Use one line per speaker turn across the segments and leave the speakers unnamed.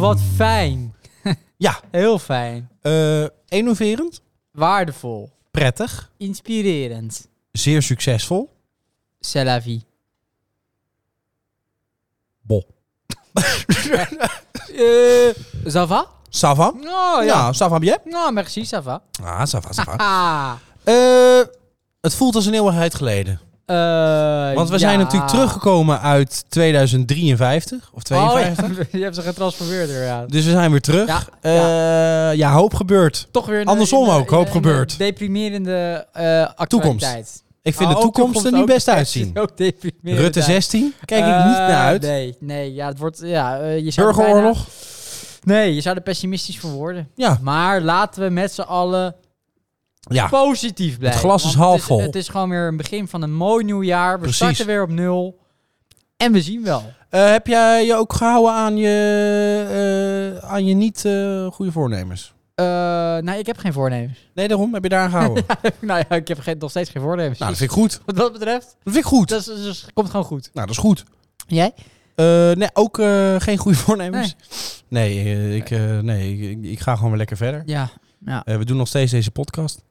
wat fijn.
Ja.
Heel fijn.
Eh, innoverend,
Waardevol.
prettig,
Inspirerend.
zeer succesvol.
C'est la vie.
Bo.
Eh, ça va?
Ça va?
Nou ja.
ja, ça va bien.
Nou, merci, ça va.
Ah, ça va, ça va.
Ah.
Eh, het voelt als een eeuwigheid geleden.
Eh,
Want we
ja.
zijn natuurlijk teruggekomen uit 2053 of
Oh,
52.
ja. Je hebt ze getransformeerd inderdaad.
Dus we zijn weer terug.
Ja,
Eh, ja, hoop gebeurt.
Toch weer... in de-
Andersom
in de-
ook, hoop
in de- in de
gebeurd.
Deprimerende eh actualiteit.
Ik vind de
Oh, ook
toekomst er niet
ook.
best
Het
uitzien.
is ook deprimerend
Rutte
uit.
16, kijk ik
Eh,
niet naar uit.
Nee, nee. Ja, het wordt... Ja, eh, je zou er
Burgeroorlog?
bijna- nee, je zou er pessimistisch voor worden.
Ja,
Maar laten we met z'n allen
ja.
positief blijven.
Ah, glas is
Want
half
het
vol.
Het is gewoon weer een begin van een mooi nieuw jaar. We
Precies.
starten weer op nul. En we zien wel.
Eh, heb jij je ook gehouden aan je, eh, aan je niet eh, goede voornemens?
Eh, nou, ik heb geen voornemens.
Nee, daarom heb je daar aan gehouden.
nou ja, ik heb geen, nog steeds geen voornemens.
Nou, dat vind ik goed.
Wat dat betreft,
Dat vind ik goed.
dat, is, dat is- komt gewoon goed.
Nou, dat is goed.
Jij?
Eh, nee, ook eh, geen goede voornemens. Nee, eh, ik, eh, nee ik, ik ga gewoon weer lekker verder.
Ja. Ja,
Eh, we doen nog steeds deze podcast.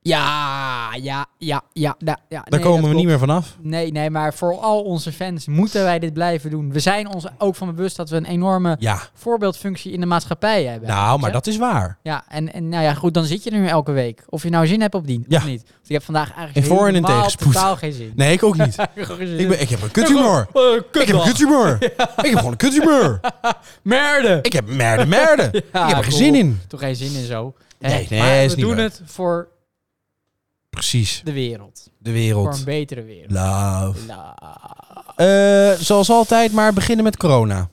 ja, ja, ja, ja. ja, ja.
Daar komen we niet meer vanaf.
Nee, nee, maar voor al onze fans moeten wij dit blijven doen. We zijn ons ook van bewust dat we een enorme
Ja,
voorbeeldfunctie in de maatschappij hebben.
nou, maar
hè?
dat is waar.
Ja, en, en nou ja, goed, dan zit je er nu elke week. Of je nou zin hebt op dien,
Ja.
of niet. Want ik heb vandaag eigenlijk
In voor- en in
helemaal
tegenspoed.
totaal geen zin.
Nee, ik ook niet. ik, ben, ik heb een kuthumor.
Eh,
Ik heb een kuthumor. Ik heb gewoon een kuthumor.
Merde!
Ik heb merde, merde. Ik heb er geen
cool.
zin in.
Toch geen zin in zo.
Nee,
Hè?
nee,
maar
is
we
niet
doen
waar.
het voor
Precies,
de wereld.
de
Voor een
wereld.
betere wereld. Nou,
Love.
La-
Eh, zoals altijd, maar beginnen met corona.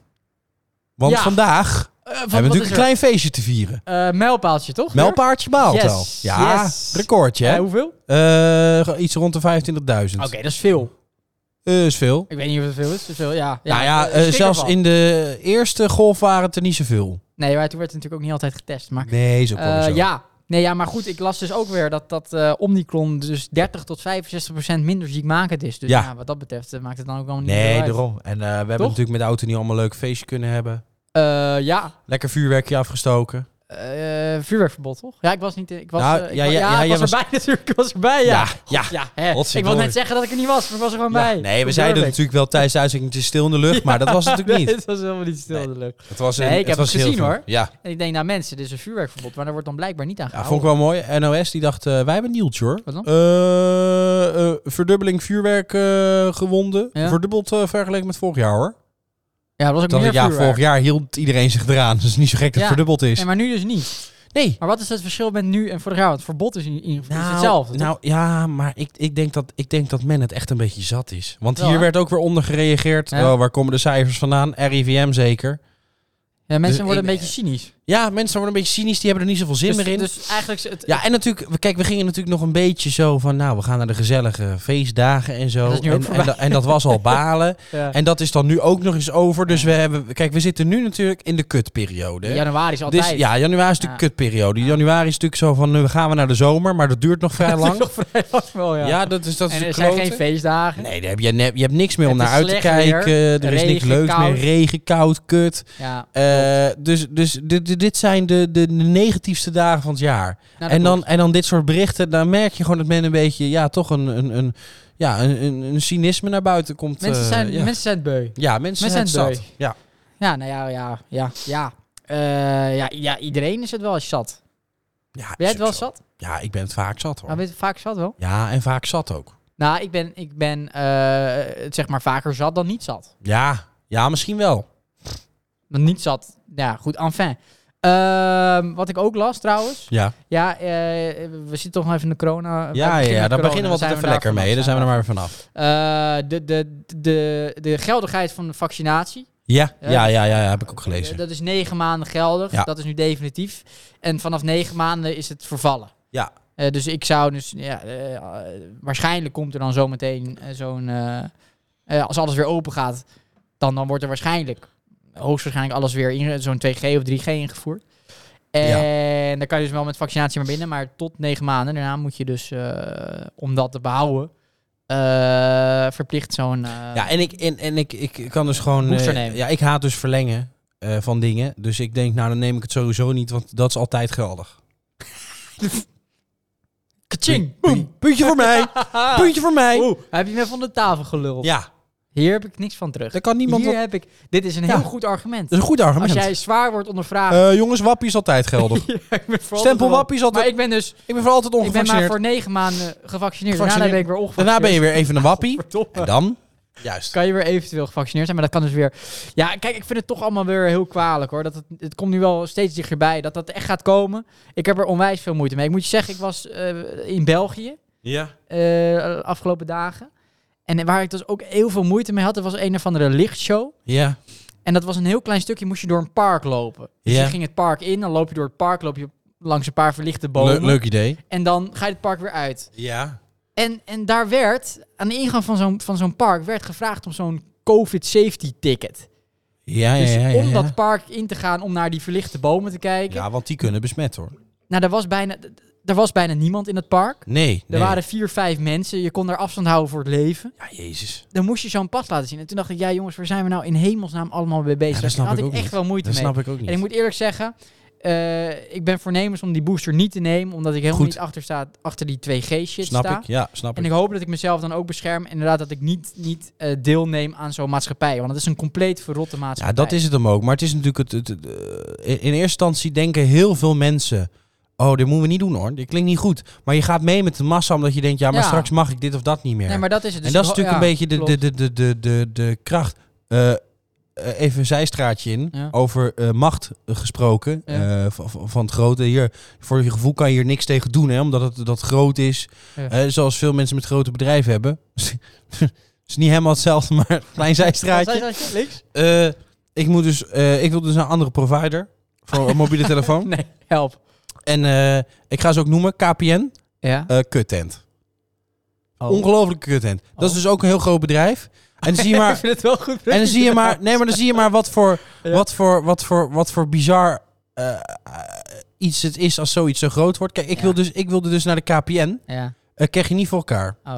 Want
Ja.
vandaag
Eh, wat-
hebben
wat
we natuurlijk
is
een
er?
klein feestje te vieren.
Eh, mijlpaaltje, toch? weer?
Melpaardje baalt
Yes,
wel. Ja,
yes.
recordje hè.
Eh, hoeveel? Oké,
Eh, iets rond de 25.000.
dat is veel.
Eh, is veel.
Ik weet niet of het veel is. Dat is veel, ja.
nou ja,
eh,
eh,
schrik
zelfs
ervan.
in de eerste golf waren het er niet zoveel.
Nee, maar toen werd het natuurlijk ook niet altijd getest. Maar
Nee, zo ook wel
Eh,
zo.
ja. Nee, ja, maar goed, ik las dus ook weer dat, dat eh, Omicron dus 30 tot 65 procent minder ziekmakend is. Dus
Ja.
ja. wat dat betreft eh, maakt het dan ook allemaal niet
Nee,
meer uit.
daarom. En eh, we hebben
Toch?
natuurlijk met de auto niet allemaal een leuk feestje kunnen hebben.
Eh, ja,
Lekker vuurwerkje afgestoken.
Eh, vuurwerkverbod toch? Ja, ik was niet... Ik was,
Nou,
eh, ik
ja,
wa-
ja, ja,
ik
jij
was, erbij natuurlijk, ik was erbij, ja.
ja. ja.
Ja, hè. Ik wil
Godverdomme.
net zeggen dat ik er niet was, maar ik was er gewoon
Ja,
bij.
Nee, we
Dat
zeiden
durf ik.
natuurlijk wel tijdens de uitzending, het is stil in de lucht, maar dat was het natuurlijk
Nee,
niet.
het was helemaal niet stil in de lucht.
Het was
Nee, ik
het
heb
was
het
heel
gezien,
veel.
hoor.
Ja.
En ik denk, nou mensen, dit is een vuurwerkverbod, maar daar wordt dan blijkbaar niet aan
ja,
gehouden.
vond ik wel mooi. NOS die dacht, eh, wij hebben een nieuwtje hoor.
Wat dan?
Eh, eh, verdubbeling vuurwerk eh, gewonden.
Ja.
Verdubbeld eh, vergeleken met vorig jaar hoor.
Ja, dat was ook
Dat
meer
ik, ja,
vuurwerk.
vorig jaar hield iedereen zich eraan. Dus het is niet zo gek dat het
Ja.
verdubbeld is.
Nee, maar nu dus niet.
Nee.
Maar wat is het verschil met nu en vorig jaar? Want het verbod is, in, in, is hetzelfde. toch?
nou ja, maar ik, ik, denk dat, ik denk dat men het echt een beetje zat is. Want
Wel,
hier
hè?
werd ook weer onder gereageerd.
Ja.
Oh, waar komen de cijfers vandaan? RIVM zeker.
ja, mensen
dus
worden
ik-
een beetje cynisch.
Ja, mensen worden een beetje cynisch. Die hebben er niet zoveel zin meer in.
Dus, dus eigenlijk... Het,
Ja, en natuurlijk, we- kijk, we gingen natuurlijk nog een beetje zo van, nou, we gaan naar de gezellige feestdagen en zo.
Dat is nu
en,
ook
en,
voorbij.
da- en dat was al balen.
ja.
En dat is dan nu ook nog eens over. Dus we hebben, kijk, we zitten nu natuurlijk in de kutperiode. hè.
Januari is altijd...
Dus, ja, januari is natuurlijk
Ja.
kutperiode. Januari is natuurlijk zo van, nu gaan we naar de zomer, maar dat duurt nog vrij
Het is
lang.
nog vrij lang wel, ja.
Ja. dat is dat is
en er
de
zijn
klote.
geen feestdagen.
Nee, daar heb je, ne- je hebt niks meer om
Het
naar
is
uit te
slecht weer.
kijken. Er is
Regen,
niks leuks
koud.
meer. Regen, koud, kut.
Ja. Nou,
Eh, dus dus dit, dit- dit zijn de, de, de negatiefste dagen van het jaar.
Nou, dat
En dan,
klopt.
en dan dit soort berichten, dan merk je gewoon dat men een beetje, ja, toch een, een, een, ja, een, een, een cynisme naar buiten komt.
Mensen
eh,
zijn,
ja.
mensen zijn beu.
ja, mensen,
mensen
zijn
zijn
het zat. Ja.
Ja, nou ja, ja, ja, ja. Eh, ja, ja, iedereen is het wel eens zat.
Ja,
Ben jij
is
het wel
ook
eens
zo.
zat? Nou,
Ja, ik ben het vaak zat hoor.
Maar ben je het vaak zat wel?
Ja, en vaak zat ook.
Nou, ik ben, ik ben eh, het zeg maar vaker zat dan niet zat.
Ja, ja misschien wel.
Want niet zat, ja goed, enfin. Ehm, wat ik ook las trouwens.
Ja,
Ja, eh, we zitten toch nog even in de corona. we
ja, ja,
beginnen
ja
met
daar
corona,
beginnen we
dan
altijd
zijn
even
daar
lekker
vanaf,
mee. Daar zijn we
we
er maar weer vanaf.
Eh, de, de, de, de geldigheid van de vaccinatie.
Ja,
Ja,
ja,
dus-
ja, ja, ja, heb ik ook gelezen.
Eh, Dat is negen maanden geldig.
Ja.
Dat is nu definitief. En vanaf negen maanden is het vervallen.
Ja.
Eh, dus ik zou dus... Ja, eh, eh, waarschijnlijk komt er dan zometeen eh, zo'n... eh, eh, als alles weer open gaat, dan, dan wordt er waarschijnlijk... Hoogstwaarschijnlijk alles weer in zo'n 2G of 3G ingevoerd. En dan kan je dus wel met vaccinatie maar binnen. Maar tot negen maanden. Daarna moet je dus, eh, om dat te behouden... eh, verplicht zo'n... eh,
Ja, en ik, en, en ik, ik kan dus gewoon.
Booster
eh,
nemen.
ja, ik haat dus verlengen. eh, van dingen. Dus ik denk, nou dan neem ik het sowieso niet, want dat is altijd geldig.
Kaching!
Puntje, puntje voor mij, puntje voor mij.
Oeh, heb je me van de tafel geluld?
Ja,
Hier heb ik niks van terug.
daar kan niemand...
Hier
wat-
heb ik... Dit is een
Ja.
heel goed argument.
Dat is een goed
Als
argument.
jij zwaar wordt ondervraagd...
Eh, jongens, wappie is altijd geldig.
Ja, ik ben voor altijd
Stempel
wel-
wappie is altijd...
Maar ik ben dus...
ik ben voor altijd
Ik ben maar
ongevaccineerd.
voor negen maanden gevaccineerd. Daarna
Gevaccineerd.
ben ik weer ongevaccineerd.
Daarna ben je weer even een wappie.
Verdomme.
En dan? Juist.
kan je weer eventueel gevaccineerd zijn. Maar dat kan dus weer. Ja, kijk, ik vind het toch allemaal weer heel kwalijk hoor. Dat het, het komt nu wel steeds dichterbij. Dat dat echt gaat komen. Ik heb er onwijs veel moeite mee. Ik moet je zeggen, ik was eh, in België
Ja.
eh, de afgelopen dagen. En waar ik dus ook heel veel moeite mee had, dat was een of andere lichtshow.
Ja.
En dat was een heel klein stukje, moest je door een park lopen. Dus
Ja.
je ging het park in, dan loop je door het park, loop je langs een paar verlichte bomen.
Le- leuk idee.
En dan ga je het park weer uit.
Ja.
En, en daar werd, aan de ingang van zo'n, van zo'n park, werd gevraagd om zo'n COVID-safety ticket.
Ja, ja,
Dus
ja. ja,
om
ja.
dat park in te gaan, om naar die verlichte bomen te kijken.
Ja, want die kunnen besmet hoor.
Nou, er was, bijna, d- d- er was bijna niemand in het park.
Nee.
Er waren vier, vijf mensen. Je kon daar afstand houden voor het leven.
Ja, jezus.
Dan moest je zo'n pas laten zien. En toen dacht ik, ja jongens, waar zijn we nou in hemelsnaam allemaal mee bezig?
Ja, dat snap
Daar had ik,
ik ook
echt
niet.
wel moeite
Dat
mee.
snap ik ook niet.
En ik moet eerlijk zeggen, eh, ik ben voornemens om die booster niet te nemen. Omdat ik helemaal
Goed.
niet achter, sta, achter die 2G-shit sta.
snap ik. Ja, snap
En
ik.
ik hoop dat ik mezelf dan ook bescherm. Inderdaad, dat ik niet, niet eh, deelneem aan zo'n maatschappij. Want het is een compleet verrotte
Ja,
maatschappij.
dat is het hem ook. Maar het is natuurlijk het, het, het, eh, in eerste instantie denken heel veel mensen. Oh, dit moeten we niet doen hoor. Dit klinkt niet goed. Maar je gaat mee met de massa omdat je denkt, ja, maar
Ja.
straks mag ik dit of dat niet meer.
Nee, maar dat is het. Dus
en dat is
ik ho-
natuurlijk
ja,
een beetje de, de,
klopt.
de, de, de, de, de kracht. Eh, eh, even een zijstraatje in.
Ja.
Over eh, macht eh, gesproken.
Ja.
eh, van, van- van het grote. Hier, voor je gevoel kan je hier niks tegen doen. Hè, omdat het dat groot is.
Ja.
Eh, zoals veel mensen met grote bedrijven hebben. is niet helemaal hetzelfde, maar een klein
Wat
zijstraatje.
zei je? Links?
Eh, ik, moet dus, eh, ik wil dus een andere provider. Voor een mobiele telefoon.
Nee, help.
En eh, ik ga ze ook noemen. KPN.
Ja.
eh kuttent.
Oh.
Ongelooflijke kuttent. Dat is
Oh.
dus ook een heel groot bedrijf. En dan zie je maar...
ik vind het wel goed.
En dan zie je maar, nee, maar dan zie je maar wat voor,
Ja.
wat voor, wat voor, wat voor bizar eh, eh, iets het is als zoiets zo groot wordt. Kijk, ik,
Ja.
wil dus, ik wilde dus naar de KPN.
Ja.
Eh krijg je niet voor elkaar.
Oh.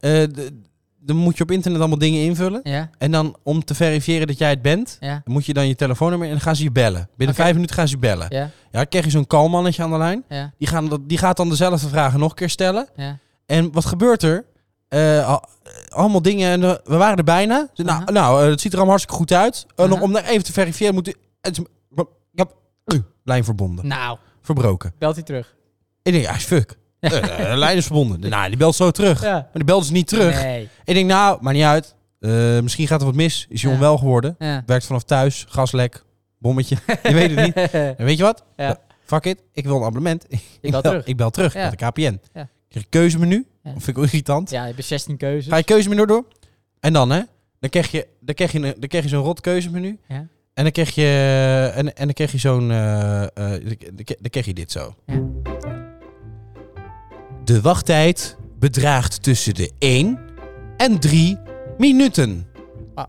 Eh, de- dan moet je op internet allemaal dingen invullen.
Ja.
En dan om te verifiëren dat jij het bent,
Ja.
moet je dan je telefoonnummer en dan gaan ze je bellen. Binnen
Oké.
vijf minuten gaan ze je bellen. Ja,
Ja.
dan krijg je zo'n kalmannetje aan de lijn.
Ja.
Die, gaan, dat- die gaat dan dezelfde vragen nog een keer stellen.
Ja.
En wat gebeurt er? Eh, al- allemaal dingen. En, eh, we waren er bijna. Ze- Nou,
Aha.
nou eh, het ziet er allemaal hartstikke goed uit. Eh, nog
Aha.
om daar even te verifiëren moet... u- Het is, ik heb- uh, lijn verbonden.
Nou,
Verbroken.
belt hij terug.
Ik denk, ja, fuck. Eh, de lijn is verbonden. Nou, die belt zo terug.
Ja.
Maar die belt dus niet terug.
Nee.
Ik denk, nou, maakt niet uit. Eh, misschien gaat er wat mis. Is hij
Ja.
onwel geworden.
Ja.
Werkt vanaf thuis. Gaslek. Bommetje. je weet het niet. En weet je wat?
Ja.
Fuck it. Ik wil een abonnement. Ik,
bel terug.
Ik bel terug.
Ja.
Met de KPN.
Ja.
Ik Krijg een keuzemenu.
Ja.
Dat vind ik ook irritant.
ja, je hebt 16
Ga
keuzes.
je keuzemenu door. En dan, hè? Dan krijg je, dan krijg je, een- dan krijg je zo'n rot keuzemenu.
Ja.
En dan krijg je, en, en dan krijg je zo'n, eh, eh, dan, dan- dan krijg je dit zo.
Ja.
De wachttijd bedraagt tussen de 1 en 3 minuten.
Ah.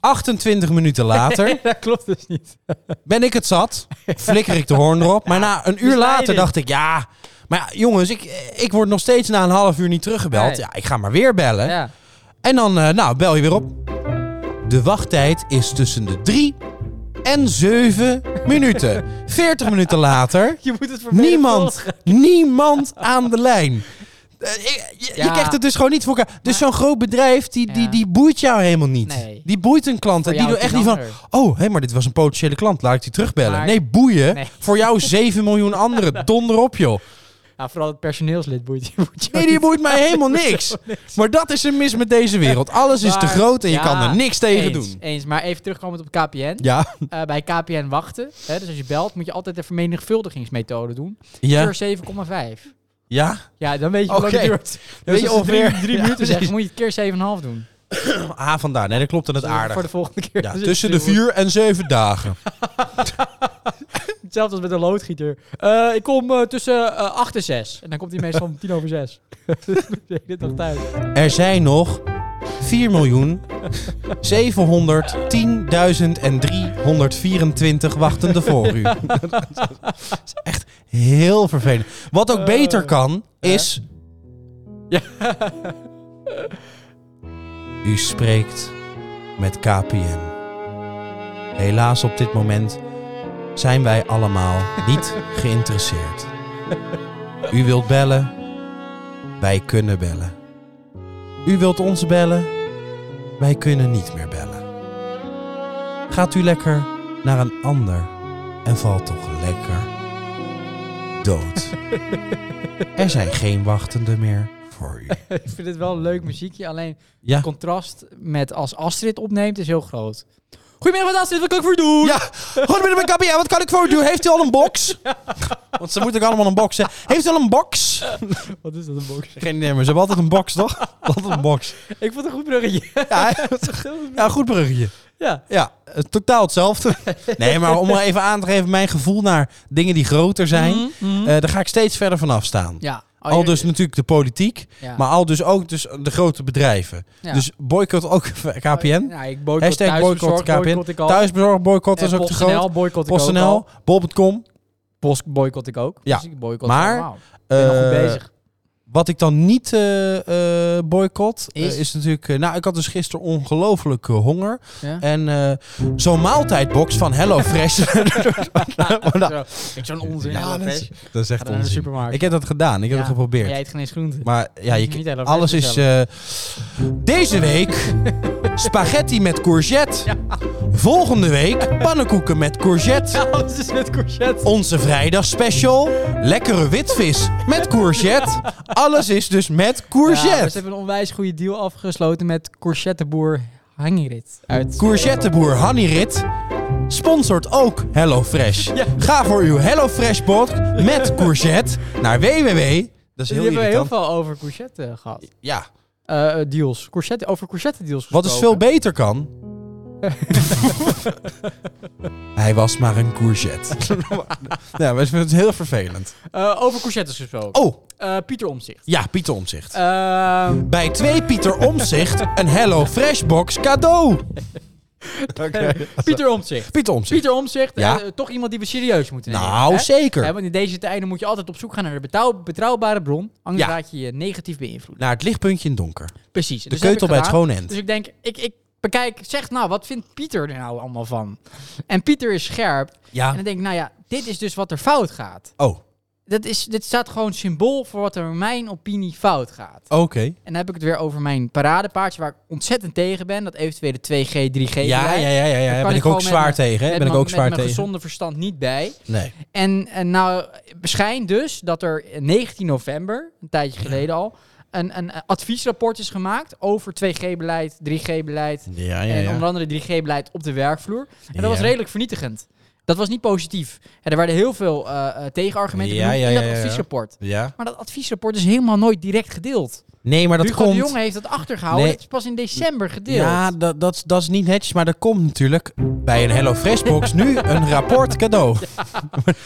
28 minuten later
dat klopt dus niet.
ben ik het zat. Flikker ik de hoorn erop. Maar na een uur later
misleiding.
dacht ik, ja... Maar ja, jongens, ik, ik word nog steeds na een half uur niet teruggebeld.
Nee.
Ja, ik ga maar weer bellen.
Ja.
En dan, eh, nou, bel je weer op. De wachttijd is tussen de 3 en 7 minuten. 40 minuten later,
Je moet het voor
niemand, niemand aan de lijn. Eh, ik- je, je
Ja.
krijgt het dus gewoon niet voor elkaar. Dus zo'n groot bedrijf, die, die,
Ja.
die boeit jou helemaal niet.
Nee.
Die boeit een klant.
Voor
en die
jou
doet echt
is
niet van,
het
oh, hé, maar dit was een potentiële klant. Laat ik die terugbellen.
Maar-
Nee, boeien.
Nee.
Voor jou 7 miljoen anderen. Donder op, joh.
Nou, vooral het personeelslid boeit je. boeit je
Nee,
ook
die boeit mij helemaal niks. Maar dat is een mis met deze wereld. Alles is te
Maar-
groot en je
Ja,
kan er niks tegen
eens,
doen.
Eens, maar even terugkomend op KPN.
Ja.
Eh, bij KPN wachten, hè, dus als je belt, moet je altijd de vermenigvuldigingsmethode doen.
Ja.
Keer 7,5.
Ja.
Ja, dan weet je hoe
Oké. Dus
lang het duurt.
Weet je
als ze drie-
ongeveer-
drie
Ja,
minuten
precies.
zeggen, moet je het keer 7,5 doen.
Ah, vandaar. Nee, dat klopt en dat
Dus Voor de
aardig.
volgende keer.
Ja,
Dus
tussen de
het is
vier en zeven dagen.
Hetzelfde als met een loodgieter. Eh, ik kom eh, tussen eh, 8 en 6. En dan komt hij meestal om 10 over 6. Dit nog thuis.
Er zijn nog 4 miljoen 710.324 wachtende voor u. Dat is echt heel vervelend. Wat ook beter kan, is...
Ja.
U spreekt met KPN. Helaas op dit moment zijn wij allemaal niet geïnteresseerd. U wilt bellen? Wij kunnen bellen. U wilt ons bellen? Wij kunnen niet meer bellen. Gaat u lekker naar een ander en valt toch lekker dood. Er zijn geen wachtenden meer voor u.
Ik vind het wel een leuk muziekje, alleen
Ja.
het contrast met als Astrid opneemt is heel groot. Goedemiddag, wat Astrid, wat kan ik voor je doen?
Ja, goedemiddag mijn kappie. Ja, wat kan ik voor u doen? Heeft u al een box? Want ze moeten ook allemaal een box hebben. Heeft u al een box?
Wat is dat een box?
Geen idee, maar ze hebben altijd een box, toch? Altijd een box.
Ik vond het een goed bruggetje.
Ja, ja goed bruggetje.
Ja.
Ja, eh, totaal hetzelfde. Nee, maar om maar even aan te geven mijn gevoel naar dingen die groter zijn. eh, daar ga ik steeds verder vanaf staan.
Mhm. ja. Oh,
Al
je-
dus natuurlijk de politiek,
ja.
maar al dus ook dus de grote bedrijven.
Ja.
Dus boycott ook KPN.
Ja, ik boycott
Hashtag boycott
thuisbezorgd,
KPN.
boycott ik al.
Thuisbezorg boycott
En
is ook te
PostNL
groot.
boycott ik ook
PostNL,
al.
bol.com.
Post boycott ik ook.
Ja.
Dus ik boycott
Maar,
allemaal. Ik ben nog goed
eh,
bezig.
Wat ik dan niet eh, eh, boycott, eh, is,
Is?
natuurlijk... eh, nou, ik had dus gisteren ongelooflijk eh, honger.
Ja.
En eh, zo'n maaltijdbox van HelloFresh. dat,
Zo, ik zo'n onzin.
eh, Ja,
dat is
dat is echt
naar de
onzin.
supermarkt.
Ik heb dat gedaan, ik
Ja,
heb het geprobeerd.
Jij eet geen eens groenten.
Maar ja, je,
Moet je niet
k-
helemaal dus
alles is... eh, deze week spaghetti met courgette. Volgende week pannenkoeken met courgette.
Alles is met courgette.
Onze vrijdagspecial. Lekkere witvis met courgette. Alles is dus met
Ja, maar ze
courgette.
hebben een onwijs goede deal afgesloten met courgetteboer Hangirit. Uit eh,
Courgetteboer Hanny Rit sponsort ook HelloFresh. Ga voor uw HelloFresh box met courgette naar www. Dat is
Dus Die
heel
hebben we heel
irritant.
veel over courgette gehad.
Ja,
Eh, eh, deals. Courgette, over courgette deals
wat dus veel
gesproken.
beter kan. Hij was maar een courgette. ja, maar ik vind het heel vervelend.
Eh, over courgettes gesproken.
Oh,
Eh, Pieter Omzicht.
ja, Pieter Omzicht.
Ehm
Bij twee Pieter Omzicht een Hello Fresh box cadeau.
Pieter Omzicht.
Pieter Omzicht.
Pieter Omzicht,
Ja.
toch iemand die we serieus moeten nemen.
Nou,
hè?
zeker.
Hè, want in deze tijden moet je altijd op zoek gaan naar de betrouw- betrouwbare bron. Anders
Ja.
raak je je negatief beïnvloed.
Naar het lichtpuntje in het donker.
Precies.
De keutel bij het schone end.
Dus ik denk, ik, ik bekijk, zeg nou, wat vindt Pieter er nou allemaal van? En Pieter is scherp. En
Ja.
dan denk ik, nou ja, dit is dus wat er fout gaat.
Oh, oké.
Dat is, dit staat gewoon symbool voor wat er in mijn opinie fout gaat. En dan heb ik het weer over mijn paradepaardje, waar ik ontzettend tegen ben. Dat eventuele 2G, 3G.
Ja, ja,
beleid.
ja, ja, ja.
kan
Ben
ik
ik
gewoon
ook
met
zwaar
mijn-
tegen. hè?
Met
Ben ik
mijn-
ook zwaar
met mijn
tegen.
gezonde verstand niet bij.
Nee.
En, en nou schijnt dus dat er 19 november, een tijdje geleden al, een, een eh, adviesrapport is gemaakt over 2G-beleid, 3G-beleid
Ja,
en onder andere 3G-beleid op de werkvloer. En dat was
Ja.
redelijk vernietigend. Dat was niet positief. En er werden heel veel eh, eh, tegenargumenten
Ja,
genoemd
ja,
in
ja,
dat
ja.
adviesrapport.
Ja.
Maar dat adviesrapport is helemaal nooit direct gedeeld.
Nee, maar dat
Hugo de
komt...
Jong heeft dat achtergehouden.
Nee.
Het is pas in december gedeeld.
Ja, dat, dat, is- dat is niet netjes, maar dat komt natuurlijk bij een Hello Fresh box nu een rapport cadeau.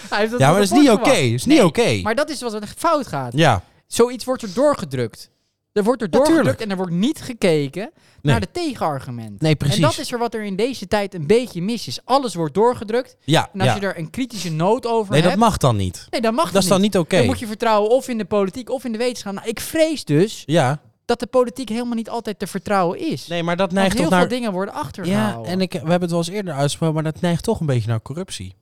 Hij heeft
Ja, maar dat is niet oké.
rapport verwacht.
Dat is niet
Nee,
oké.
Maar dat is wat er fout gaat.
Ja.
Zoiets wordt er doorgedrukt. Er wordt er
Natuurlijk.
doorgedrukt en er wordt niet gekeken
Nee.
naar de tegenargumenten.
Nee, precies.
En dat is er wat er in deze tijd een beetje mis is. Alles wordt doorgedrukt.
Ja,
En als
ja.
je er een kritische noot over
Nee, dat
hebt...
mag dan niet.
nee, dan mag
Dat is dan niet oké.
Dan moet je vertrouwen of in de politiek of in de wetenschap. Nou, ik vrees dus
Ja.
dat de politiek helemaal niet altijd te vertrouwen is.
Nee, maar dat
Want
neigt
heel
toch
veel
naar...
dingen worden
Ja,
achtergehouden.
en ik, we hebben het wel eens eerder uitgesproken, maar dat neigt toch een beetje naar corruptie.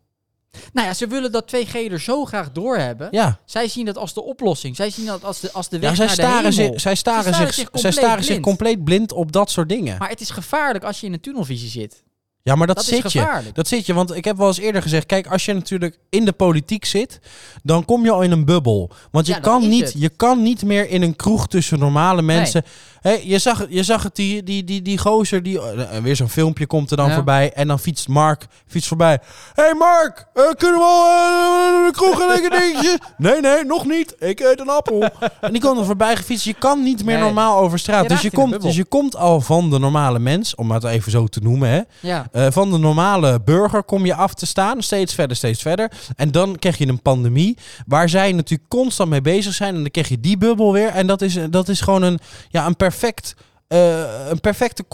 Nou ja, ze willen dat 2G er zo graag doorhebben.
Ja.
Zij zien dat als de oplossing. Zij zien dat als de, als de weg
Ja, zij
naar de hemel.
staren, zich, zij staren,
staren
zich,
zich
zij
compleet
staren zich
blind.
compleet blind op dat soort dingen.
Maar het is gevaarlijk als je in een tunnelvisie zit.
ja, maar dat,
dat is
zit je.
gevaarlijk.
Dat zit je, want ik heb wel eens eerder gezegd, kijk, als je natuurlijk in de politiek zit, dan kom je al in een bubbel. Want je,
Ja, dat
kan,
is
niet,
het.
je kan niet meer in een kroeg tussen normale mensen. Hé, je, zag, je zag het, die, die, die, die gozer, die, eh, weer zo'n filmpje komt er dan
Ja.
voorbij en dan fietst Mark fietst voorbij. Hé hey Mark, eh, kunnen we al eh, naar de kroeg en lekker dingetje? Nee, nee, nog niet. Ik eet een appel. en die komt er voorbij gefietst. Je kan niet meer
Nee.
normaal over straat.
Je raakt
dus, je
in een
komt,
bubbel.
dus je komt al van de normale mens, om het even zo te noemen, hè.
Ja.
Eh, van de normale burger kom je af te staan, steeds verder, steeds verder. En dan krijg je een pandemie waar zij natuurlijk constant mee bezig zijn. En dan krijg je die bubbel weer. En dat is, dat is gewoon een, ja, een, perfect, eh, een perfecte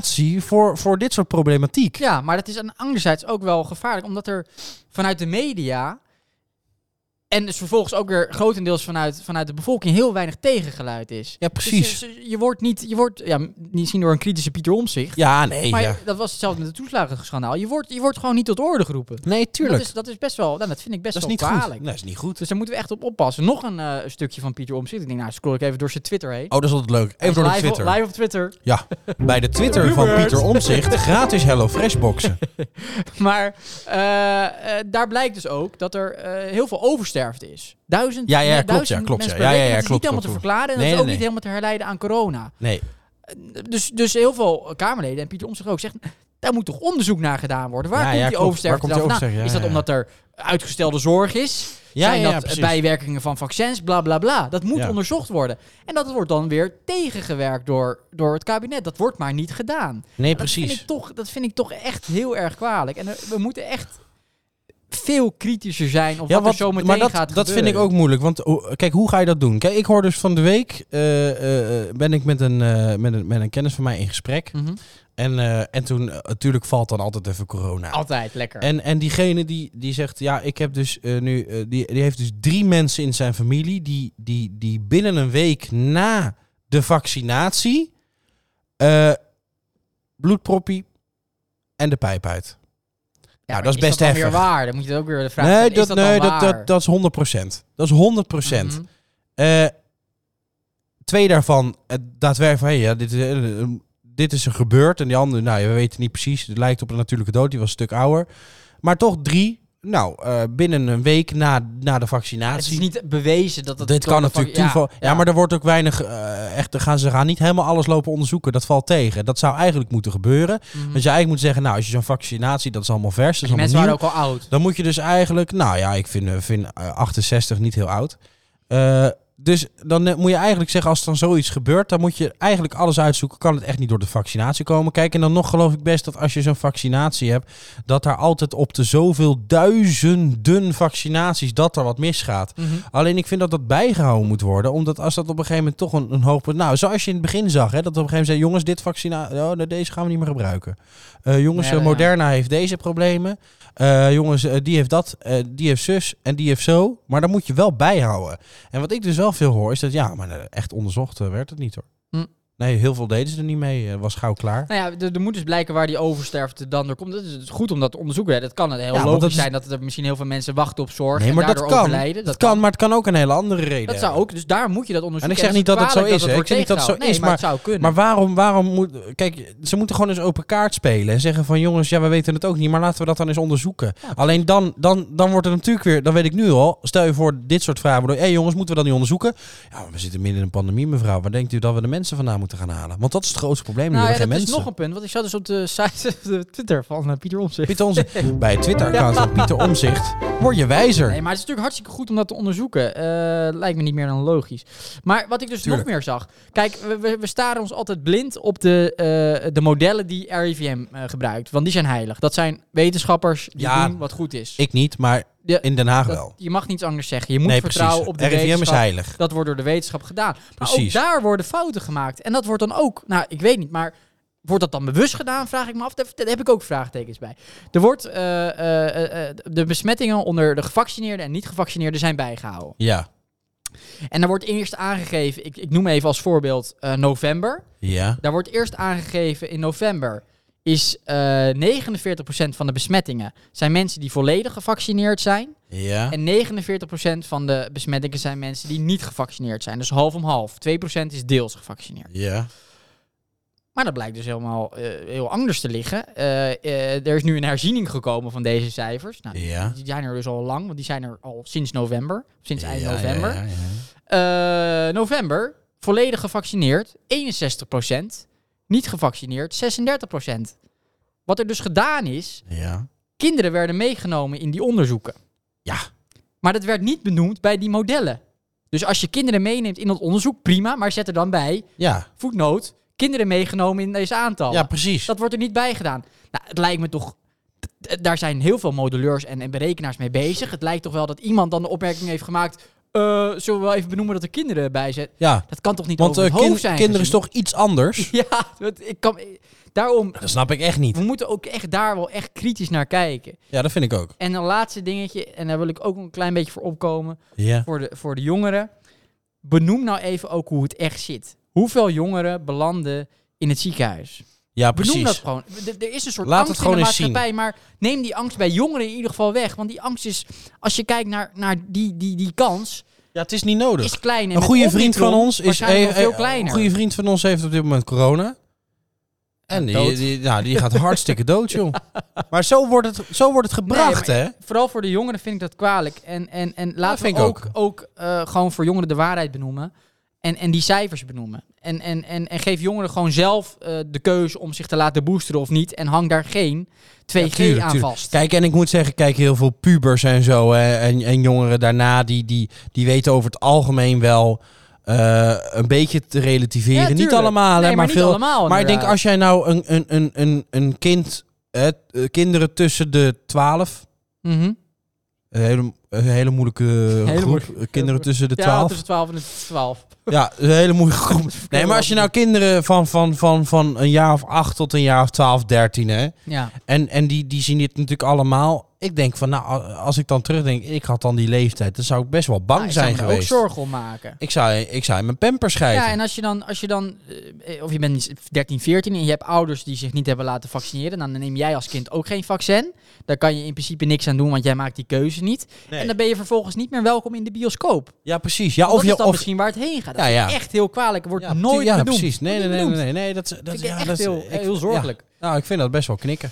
combinatie voor, voor dit soort problematiek.
ja, maar dat is aan- anderzijds ook wel gevaarlijk. Omdat er vanuit de media En dus vervolgens ook weer grotendeels vanuit, vanuit de bevolking heel weinig tegengeluid is.
Ja,
Dus
precies.
je- je, je wordt niet, je wordt, ja, m- misschien door een kritische Pieter Omtzigt.
Ja, nee.
maar
ja.
dat was hetzelfde met het toeslagenschandaal. Je wordt, je wordt gewoon niet tot orde geroepen.
Nee, tuurlijk.
Dat is, dat is best wel, nou, dat vind ik best
Dat
wel
is niet goed.
kwalijk.
Nee, dat is niet goed.
Dus daar moeten we echt op oppassen. Nog een eh, stukje van Pieter Omtzigt. Ik denk, nou, scroll ik even door zijn Twitter heen.
Oh, dat is altijd leuk. Even door de
Live op-
Twitter.
live op Twitter.
Ja, bij de Twitter van
Hubert.
Pieter Omzicht gratis Hello Fresh boxen.
Maar eh, eh, daar blijkt dus ook dat er eh, heel veel oversterfte is. Duizend,
Ja, ja,
nee,
klopt,
duizend
ja, klopt,
mensen
ja.
per
Ja,
week.
ja, ja,
En dat
klopt,
is niet
klopt,
helemaal te verklaren en
Nee,
dat is ook
nee.
niet helemaal te herleiden aan corona.
Nee,
Dus, dus heel veel Kamerleden en Pieter Omtzigt ook zeggen... daar moet toch onderzoek naar gedaan worden? Waar
Ja,
komt
ja,
die
klopt.
oversterfte
Waar komt die
dan vandaan?
oversterfte? Ja,
is dat
ja,
omdat er uitgestelde zorg is?
Ja,
Zijn
ja, ja,
dat
precies.
bijwerkingen van vaccins? Bla, bla, bla. Dat moet
Ja.
onderzocht worden. En dat wordt dan weer tegengewerkt door, door het kabinet. Dat wordt maar niet gedaan.
nee
Dat vind, ik
precies.
toch, dat vind ik toch echt heel erg kwalijk. En er- we moeten echt veel kritischer zijn op wat, er zo meteen
maar dat,
gaat
dat vind ik ook moeilijk. Want hoe- kijk, hoe ga je dat doen? Kijk, ik hoor dus van de week eh, eh, eh, ben ik met een, eh, met, een, met een kennis van mij in gesprek.
Hm. Mhm.
En, eh, en toen, eh, natuurlijk valt dan altijd even corona.
Altijd lekker.
En, en diegene die, die zegt, ja, ik heb dus eh, nu, eh, die, die heeft dus drie mensen in zijn familie die, die, die binnen een week na de vaccinatie eh bloedproppie en de pijp uit. nou, dat is best
dan
heftig.
weer waar? Dan moet je dat ook weer de vraag
nee,
stellen,
dat,
is dat
nee
dan
dat,
waar?
dat, dat is 100%. Dat is 100%.
Mhm.
Eh, twee daarvan eh, daadwerkelijk van, hey, ja, dit, is, eh, eh, dit is er gebeurd. En die andere, nou, ja, we weten niet precies. Het lijkt op een natuurlijke dood, die was een stuk ouder. Maar toch drie, nou, eh, binnen een week na, na de
Het
vaccinatie.
is niet bewezen dat het...
dit
door
kan
de
natuurlijk
vac-
toeval. Ja, maar er wordt ook weinig. eh, echt, dan gaan ze gaan niet helemaal alles lopen onderzoeken. Dat valt tegen. Dat zou eigenlijk moeten gebeuren.
Mhm.
Dus je eigenlijk moet zeggen, nou, als je zo'n vaccinatie, dat is allemaal vers. Dat is
Die
allemaal
mensen
nieuw.
waren ook al oud.
Dan moet je dus eigenlijk, nou ja, ik vind, eh, vind eh, 68 niet heel oud. Eh, dus dan eh, moet je eigenlijk zeggen, als er dan zoiets gebeurt, dan moet je eigenlijk alles uitzoeken. Kan het echt niet door de vaccinatie komen? Kijk, en dan nog geloof ik best dat als je zo'n vaccinatie hebt, dat daar altijd op de zoveel duizenden vaccinaties, dat er wat misgaat.
Mhm.
Alleen ik vind dat dat bijgehouden moet worden. Omdat als dat op een gegeven moment toch een, een hoog punt... Nou, zoals je in het begin zag, hè, dat op een gegeven moment zei... Jongens, dit vaccina... Oh, nee, deze gaan we niet meer gebruiken. Eh, jongens,
Ja,
eh,
ja.
Moderna heeft deze problemen. Eh, jongens, eh, die heeft dat, eh, die heeft zus en die heeft zo. Maar dat moet je wel bijhouden. En wat ik dus wel veel hoor, is dat... Ja, maar eh, echt onderzocht eh, werd het niet, hoor.
Hm.
Nee, heel veel deden ze er niet mee. Eh, was gauw klaar.
Nou ja, er- er moet dus blijken waar die oversterfte dan door komt. Dat is het is goed om dat te onderzoeken. hè. Dat kan heel
Ja, want
logisch
dat is-
zijn dat er misschien heel veel mensen wachten op zorg
Nee,
en
maar dat
daardoor
kan.
overlijden.
Dat kan, maar het kan ook een hele andere reden
Dat zou
hebben.
ook, dus daar moet je dat onderzoeken.
En ik zeg
het
niet dat het zo
kwalijk
is, hè.
wordt
Ik zeg niet dat het zo
tegengehouden. Nee,
is,
maar het zou kunnen.
Maar waarom, waarom moet. Kijk, ze moeten gewoon eens open kaart spelen. En zeggen van jongens, ja, we weten het ook niet, maar laten we dat dan eens onderzoeken. Alleen dan, dan, dan wordt het natuurlijk weer, dan weet ik nu al. Stel je voor dit soort vragen. Hé hey jongens, moeten we dat niet onderzoeken? Ja, maar we zitten midden in een pandemie, mevrouw. Waar denkt u dat we de mensen vandaan moeten gaan halen? Want dat is het grootste probleem. nu
nou, ja,
hebben
dat
we geen
is
mensen.
nog een punt, want ik zat dus op de site, de Twitter van eh, Pieter Omtzigt.
Pieter Omtzigt- bij het Twitter-account van Pieter Omzicht word je wijzer.
Nee, maar het is natuurlijk hartstikke goed om dat te onderzoeken. Eh, lijkt me niet meer dan logisch. Maar wat ik dus
Tuurlijk.
nog meer zag. Kijk, we, we, we staren ons altijd blind op de, eh, de modellen die RIVM eh, gebruikt. Want die zijn heilig. Dat zijn wetenschappers die
Ja.
doen wat goed is.
Ik niet, maar
Ja,
in Den Haag
Dat-
wel.
je mag niets anders zeggen. Je moet
Nee, precies.
vertrouwen op de
RIVM is
wetenschap.
heilig.
Dat wordt door de wetenschap gedaan. Maar
Precies.
ook daar worden fouten gemaakt. En dat wordt dan ook, nou, ik weet niet, maar wordt dat dan bewust gedaan, vraag ik me af. Daar daar heb ik ook vraagtekens bij. Er wordt, eh, eh, eh, de besmettingen onder de gevaccineerden en niet-gevaccineerden zijn bijgehouden.
Ja,
En daar wordt eerst aangegeven, ik, ik noem even als voorbeeld eh, november.
ja,
Daar wordt eerst aangegeven in november is eh 49% van de besmettingen zijn mensen die volledig gevaccineerd zijn.
ja.
En 49% van de besmettingen zijn mensen die niet gevaccineerd zijn. Dus half om half. 2% is deels gevaccineerd.
Ja,
Maar dat blijkt dus helemaal eh, heel anders te liggen. Eh, eh, er is nu een herziening gekomen van deze cijfers. Nou,
ja.
Die zijn er dus al lang, want die zijn er al sinds november. Sinds eind
Ja, ja,
november.
ja, ja.
Eh, november, volledig gevaccineerd, 61%. Niet gevaccineerd, 36%. Wat er dus gedaan is,
ja.
kinderen werden meegenomen in die onderzoeken.
Ja.
Maar dat werd niet benoemd bij die modellen. Dus als je kinderen meeneemt in dat onderzoek, prima. Maar zet er dan bij,
ja.
voetnoot, kinderen meegenomen in deze aantal.
Ja, precies.
dat wordt er niet bij gedaan. Nou, het lijkt me toch... d- d- Daar zijn heel veel modelleurs en, en berekenaars mee bezig. Het lijkt toch wel dat iemand dan de opmerking heeft gemaakt... eh, zullen we wel even benoemen dat er kinderen bij zijn?
Ja,
Dat kan toch niet
want
over
eh,
het
kin-
hoofd zijn
kinderen is
gezien?
toch iets anders?
Ja, want ik kan, Daarom,
Dat snap ik echt niet.
we moeten ook echt daar wel echt kritisch naar kijken.
Ja, dat vind ik ook.
En een laatste dingetje, en daar wil ik ook een klein beetje voor opkomen,
Ja.
voor de, voor de jongeren. Benoem nou even ook hoe het echt zit. Hoeveel jongeren belanden in het ziekenhuis?
Ja,
Benoem dat
precies.
gewoon. D- er is een soort
Laat
angst
het gewoon
in de
eens zien.
maatschappij, maar neem die angst bij jongeren in ieder geval weg. Want die angst is, als je kijkt naar, naar die, die, die kans,
Ja, het is niet nodig.
is klein. En
Een
met
goede vriend van
Omicron
ons is
waarschijnlijk wel
eh,
veel
eh,
kleiner.
Een goede vriend van ons heeft op dit moment corona. En die,
dood.
die, nou, die gaat hartstikke dood, joh. Maar zo wordt het, zo wordt het gebracht,
Nee,
hè?
Vooral voor de jongeren vind ik dat kwalijk. En, en, en laten
vind
we
ik
ook, ook eh, gewoon voor jongeren de waarheid benoemen. En, en die cijfers benoemen. En, en, en, en geef jongeren gewoon zelf eh, de keuze om zich te laten boosteren of niet. En hang daar geen 2G
Ja, tuurlijk,
aan
tuurlijk.
vast.
Kijk, en ik moet zeggen, kijk, heel veel pubers en zo hè, en, en jongeren daarna, die, die, die weten over het algemeen wel eh, een beetje te relativeren.
Ja,
niet
allemaal,
allemaal, hè,
maar,
maar
niet
veel.
allemaal.
Maar ik denk,
inderdaad.
als jij nou een, een, een, een, een kind, hè, t- eh, kinderen tussen de 12,
Mhm.
een hele, een hele moeilijke eh,
Hele
groep,
moeilijke-
eh, kinderen tussen de
Ja,
12.
tussen 12 en 12.
Ja, een hele moeilijke groep. Nee, maar als je nou kinderen van, van, van, van een jaar of acht tot een jaar of 12, 13, hè.
Ja.
En, en die, die zien dit natuurlijk allemaal. Ik denk van, nou, a- als ik dan terugdenk, ik had dan die leeftijd, dan zou ik best wel bang
Nou, ik zou
zijn
me daar
geweest.
ook zorgen om maken.
Ik zou, ik zou in mijn pamper schijten.
Ja, en als je dan, als je dan eh, of je bent 13, 14 en je hebt ouders die zich niet hebben laten vaccineren, dan neem jij als kind ook geen vaccin. Daar kan je in principe niks aan doen, want jij maakt die keuze niet.
Nee.
En dan ben je vervolgens niet meer welkom in de bioscoop.
Ja, precies. Ja,
Of
of
dat is
je...
dan
Of,
misschien waar het heen gaat. Dat
Ja, ja.
is echt heel kwalijk. Er wordt
ja,
nooit
ja,
benoemd.
precies. Nee, nee,
Wordt niet
nee, nee,
benoemd.
nee, nee, Dat, dat,
Vind ik
ja,
echt
dat is-
heel,
ik-
heel zorgelijk.
ja. nou, ik vind dat best wel knikken.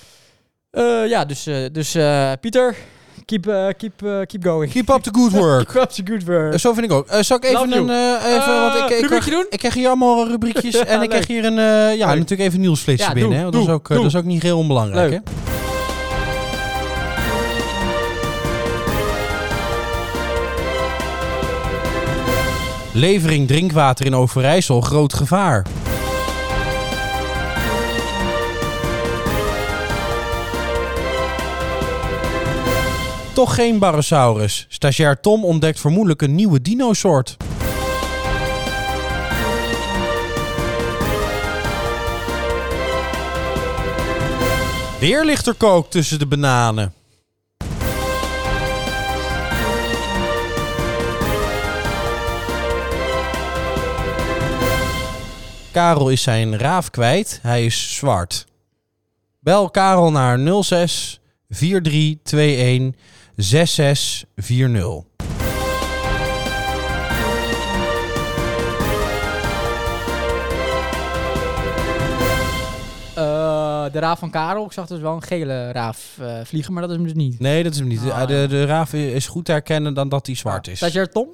Ja, ja dus, eh, dus eh, Pieter, keep, eh, keep, eh, keep going.
Keep up the good work.
Keep up the good work.
Eh, Zo vind ik ook. Eh, zal ik even
Love
een... eh, even, want ik,
Eh,
ik, ik,
rubriekje doen?
ik krijg hier allemaal rubriekjes.
Ja,
en ik krijg hier een... eh, ja,
Leuk.
natuurlijk even een nieuwsflitsje
Ja, doe,
binnen. hè, want dat,
doe,
is ook, eh,
doe.
dat is ook niet heel onbelangrijk.
Leuk.
Hè? Levering drinkwater in Overijssel, groot gevaar. Toch geen Barosaurus. Stagiair Tom ontdekt vermoedelijk een nieuwe dinosoort. Weer ligt er kook tussen de bananen. Karel is zijn raaf kwijt. Hij is zwart. Bel Karel naar 06 4321 6640.
Eh, de raaf van Karel. Ik zag dus wel een gele raaf eh, vliegen, maar dat is hem dus niet.
Nee, dat is hem niet.
Ah.
de, de raaf is goed te herkennen dan dat hij zwart is.
Stagiair Tom?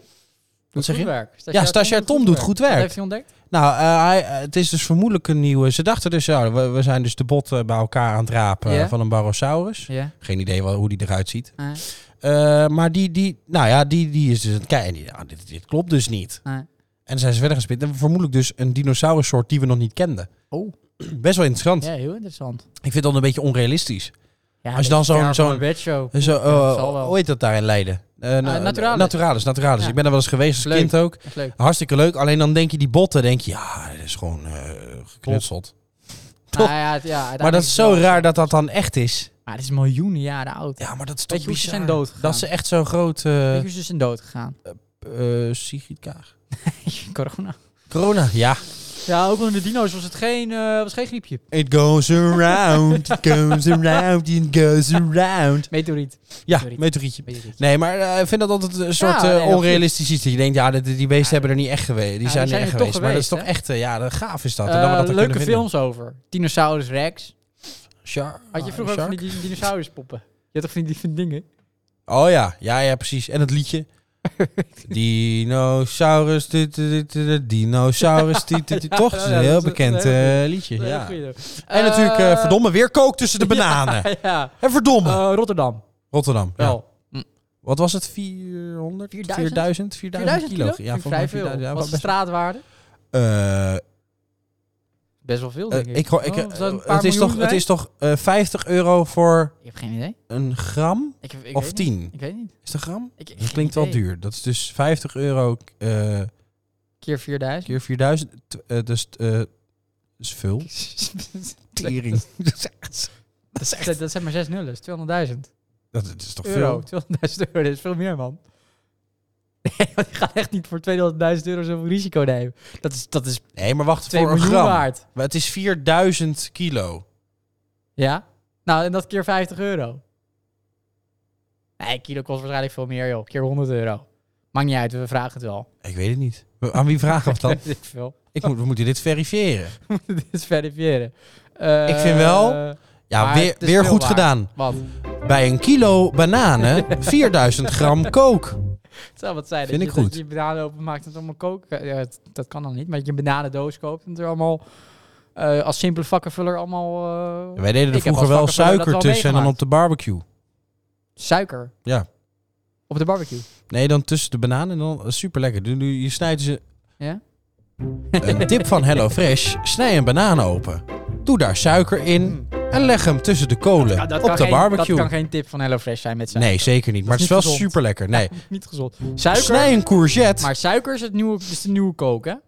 Doet
zeg
goed
je?
Werk.
stagiair Tom doet goed werk.
Wat heeft hij ontdekt?
Nou, eh, hij, eh, het is dus vermoedelijk een nieuwe. Ze dachten dus, ja, we, we zijn dus de botten bij elkaar aan het rapen eh,
Ja.
van een Barosaurus.
Ja.
Geen idee wel hoe die eruit ziet.
eh,
Eh, maar die, die, nou ja, die, die is dus aan het kijken. En die, ah, dit, dit klopt dus niet.
eh.
En dan zijn ze verder gespit. En vermoedelijk dus een dinosaurussoort die we nog niet kenden.
Oh.
Best wel interessant.
Ja, heel interessant.
Ik vind het dan een beetje onrealistisch.
Ja,
Als je dan
beetje
zo'n-
ver
zo'n-
van een bedshow.
Zo, eh,
dat zal wel. Ah,
hoe heet dat daar in Leiden? Eh, na-
Naturalis.
Naturalis, Naturalis.
Ja.
Ik ben er wel eens geweest als
Leuk.
kind ook.
Echt leuk.
Hartstikke leuk. Alleen dan denk je die botten, denk je, ja, dat is gewoon eh, geknutseld. Toch?
Ah, ja, het- ja,
Maar
uiteindelijk
dat
is
is
het
zo
wel-
raar dat dat dan echt is.
Maar het is miljoenen jaren oud.
Ja, maar dat is toch
Weet je hoe ze
bizar.
zijn dood gegaan?
Dat ze echt zo groot...
Weet
eh
je hoe ze zijn dus dood gegaan?
eh, Sigrid Kaag.
Corona.
Corona, ja.
Ja, ook onder de dino's was het geen, eh, was geen griepje.
It goes around, it goes around, it goes around.
Meteoriet.
Ja,
Meteoriet.
meteorietje.
Meteoriet.
Nee, maar eh, ik vind dat altijd een soort
nee,
eh,
absoluut.
onrealistisch iets. Dat je denkt, ja, dit- die beesten hebben er niet echt geweest. Die
die
zijn er
zijn
echt
er toch
geweest. Maar dat is toch
geweest,
echt, eh, ja, dat gaaf is dat. En dat we
Eh,
dat dan
leuke
kunnen vinden.
films over. Dinosaurus Rex.
Shark-
Had je vroeger ook
Ah, Shark?
van die dinosauruspoppen? Je had toch van die, van die dingen?
Oh ja, ja, ja, precies. En het liedje. Dinosaurus, dit, dit, dit, dit, dinosaurus, dit, dit, dit. toch? Dat is
Ja,
een
dat
heel
is een
bekend
hele
eh, liedje.
Ja.
Ja. En natuurlijk, eh, verdomme, weer kook tussen de bananen.
ja.
En verdomme.
Eh, Rotterdam.
Rotterdam. ja.
Wel.
Wat was het? 400?
4000?
4000,
4000 kilo?
Ja,
Vind ik
volgens
vrij
mij
veel.
4000. Ja,
Wat is de
best-
straatwaarde?
Eh,
Best wel veel,
eh,
denk ik.
ik hoor- ik,
Oh,
eh,
zou een paar
het is
miljoen
toch, het
zijn?
is toch eh, 50 euro voor
Ik heb geen idee.
een gram?
Ik, ik
of
weet
10?
niet. Ik weet niet.
Is het een gram?
Ik,
Dat klinkt wel duur. Dat is dus 50 euro eh,
Keer 4000.
keer 4000. t- eh, dus eh, Svul. Tering.
dat, is echt- dat zijn maar zes nullen, dat is 200.000
Dat is toch
euro.
veel?
200.000 euro, dat is veel meer, man. Nee, want die gaan echt niet voor 200.000 euro zoveel risico nemen. Dat is, dat is
Nee, maar wacht,
2
voor een
miljoen
gram.
waard.
Maar het is 4000 kilo.
Ja? Nou, en dat keer 50 euro. Nee, kilo kost waarschijnlijk veel meer, joh. Keer 100 euro. Maakt niet uit, we vragen het wel.
Ik weet het niet. Aan wie vragen we dan?
Weet ik veel.
Ik moet, we moeten dit verifiëren.
We moeten dit eens verifiëren. Eh,
Ik vind wel- Ja,
Maar
weer,
het is
weer
veel
goed
waard.
gedaan.
Wat?
Bij een kilo bananen 4000 gram kook.
Het zou wat zijn.
Vind
dat
ik
je,
goed.
Dat je bananen openmaakt en het allemaal koken. Ja, het- dat kan dan niet. Maar dat je een bananendoos koopt en het er allemaal... eh, als simpele vakkenvuller allemaal... eh,
Wij deden er
Ik heb
vroeger
als
wel
vakkenvuller dat
suiker
wel
tussen en dan
meegemaakt.
op de barbecue.
Suiker.
Ja.
Op de barbecue.
Nee, dan tussen de bananen en dan eh, super lekker. Je snijdt ze.
Ja?
Een tip van HelloFresh: snij een banaan open. Doe daar suiker in
Mm.
en leg hem tussen de kolen
Ja, dat
op
kan
de
geen-
barbecue.
Dat kan geen tip van HelloFresh zijn met suiker.
nee, zeker niet. Maar het
Dat
is
is niet
wel
gezond.
super lekker. Nee.
Niet gezond. Suiker...
Snij een courgette.
Maar suiker is, het nieuwe, is de nieuwe koken.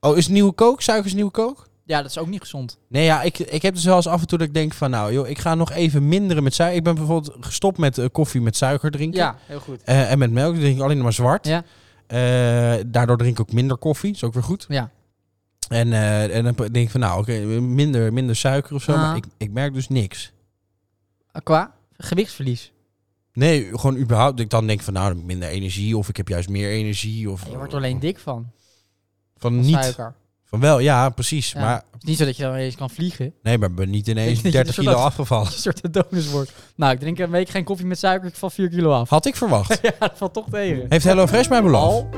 hè?
Oh, is nieuwe kook? Suiker is nieuwe kook?
Ja, dat is ook niet gezond.
Nee, ja, ik, ik heb dus wel eens af en toe dat ik denk van... Nou, joh, ik ga nog even minderen met suiker. Ik ben bijvoorbeeld gestopt met eh, koffie met suiker drinken.
Ja, heel goed.
Eh, en met melk drink ik alleen nog maar zwart.
Ja.
Eh, daardoor drink ik ook minder koffie. Is ook weer goed.
Ja.
En, eh, en dan denk ik van, nou, oké, minder, minder suiker of zo.
Ah.
Maar ik, ik merk dus niks.
Qua gewichtsverlies.
Nee, gewoon überhaupt. dat Ik dan denk van, nou, minder energie. Of ik heb juist meer energie. Of,
Je wordt er alleen dik van.
Van
van
niet.
Suiker.
Van wel, ja, precies.
Ja.
Maar
Het is niet zo dat je dan ineens kan vliegen.
nee, maar ik ben niet ineens
Ik denk
30
dat-
kilo afgevallen.
Dat je een soort donus wordt. Nou, ik drink een week geen koffie met suiker. Ik val 4 kilo af.
Had ik verwacht.
ja, dat valt toch tegen.
Heeft HelloFresh mij beloofd?
Al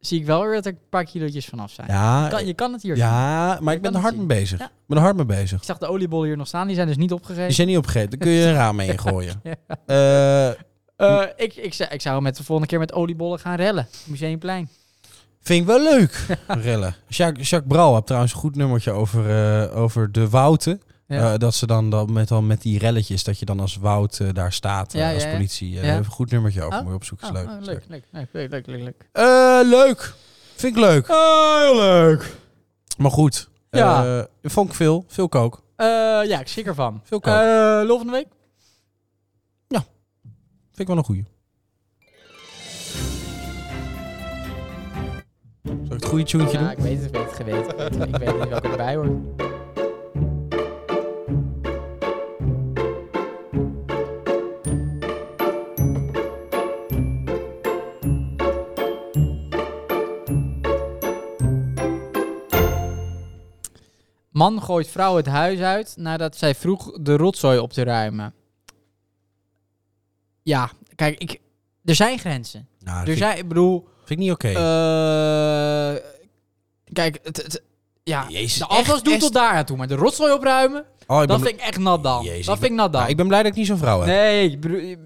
zie ik wel weer dat er een paar kilootjes vanaf zijn.
Ja,
Je, kan, je kan het hier. zien.
ja, maar ik
Je
ben
kan
er
het
hard mee
zien.
bezig.
Ja.
Ik ben er hard mee bezig.
Ik zag de oliebollen hier nog staan. Die zijn dus niet opgegeten.
Die zijn niet opgegeten. Dan kun je een raam mee gooien.
Ja.
Eh,
Eh, ik, ik, zou- ik zou met de volgende keer met oliebollen gaan rellen. Museumplein.
Vind ik wel leuk, rellen. Jacques, Jacques Brouw had trouwens een goed nummertje over, eh, over de wouten.
Ja.
Eh, dat ze dan, dan met, dan met die relletjes, dat je dan als woud eh, daar staat, eh,
Ja, ja,
als
ja.
politie. Eh,
Ja.
daar hebben we een goed nummertje over,
Oh.
moet je opzoeken.
Oh,
Is leuk.
oh,
is
leuk, leuk, leuk, leuk, leuk, leuk, leuk.
leuk. Eh, leuk. Vind ik
Oh.
leuk.
Heel leuk.
Maar goed.
Ja.
eh, vond ik veel. Veel kook.
Eh, ja, ik schrik ervan.
Veel kook.
Eh lul van de week?
Vind ik wel een goeie. Zal ik het goede tunetje
Ja,
doen?
ik weet het, ik weet het, geweten. ik weet niet welke erbij hoort. Man gooit vrouw het huis uit nadat zij vroeg de rotzooi op te ruimen. Ja, kijk, ik, er zijn grenzen.
Nou,
Er
vind, ik-
zijn, ik bedoel,
vind ik niet oké.
eh, kijk, het, het- ja.
Jezus,
de afwas
echt,
doet
echt?
tot daar aan toe, maar de rotzooi opruimen,
Oh, ik
dat
ben,
vind ik echt nat dan.
Jezus,
dat
ik
vind ik nat dan.
nou, ik ben blij dat ik niet zo'n vrouw heb.
nee, ik bedoel, eh, eh,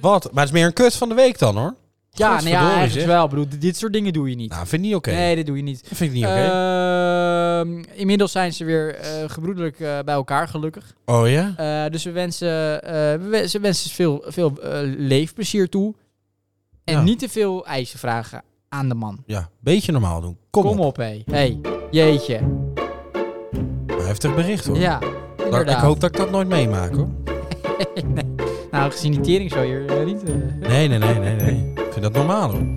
Wat? Maar het is meer een kut van de week dan, hoor.
ja, nee,
Godverdorie,
ja, eigenlijk
zeg.
wel. Ik Bedoel, dit- dit soort dingen doe je niet.
Nou, vind ik niet oké.
Nee, Eh. dit doe je niet.
Dat vind ik niet oké.
Ehm, inmiddels zijn ze weer eh, gebroedelijk eh, bij elkaar, gelukkig.
oh ja?
Eh, dus we wensen, eh, we wen- ze wensen veel, veel eh, leefplezier toe. En
Ja.
niet te veel eisen vragen aan de man.
Ja, beetje normaal doen. Kom,
Kom
op.
op, hé. Hey, jeetje.
Een heftig bericht hoor.
Ja,
Daar- ik
inderdaad.
hoop dat ik dat nooit meemaak hoor.
Nou, gezien die tering zo hier eh, niet. eh.
Nee, nee, nee, nee, nee. Ik vind dat normaal hoor.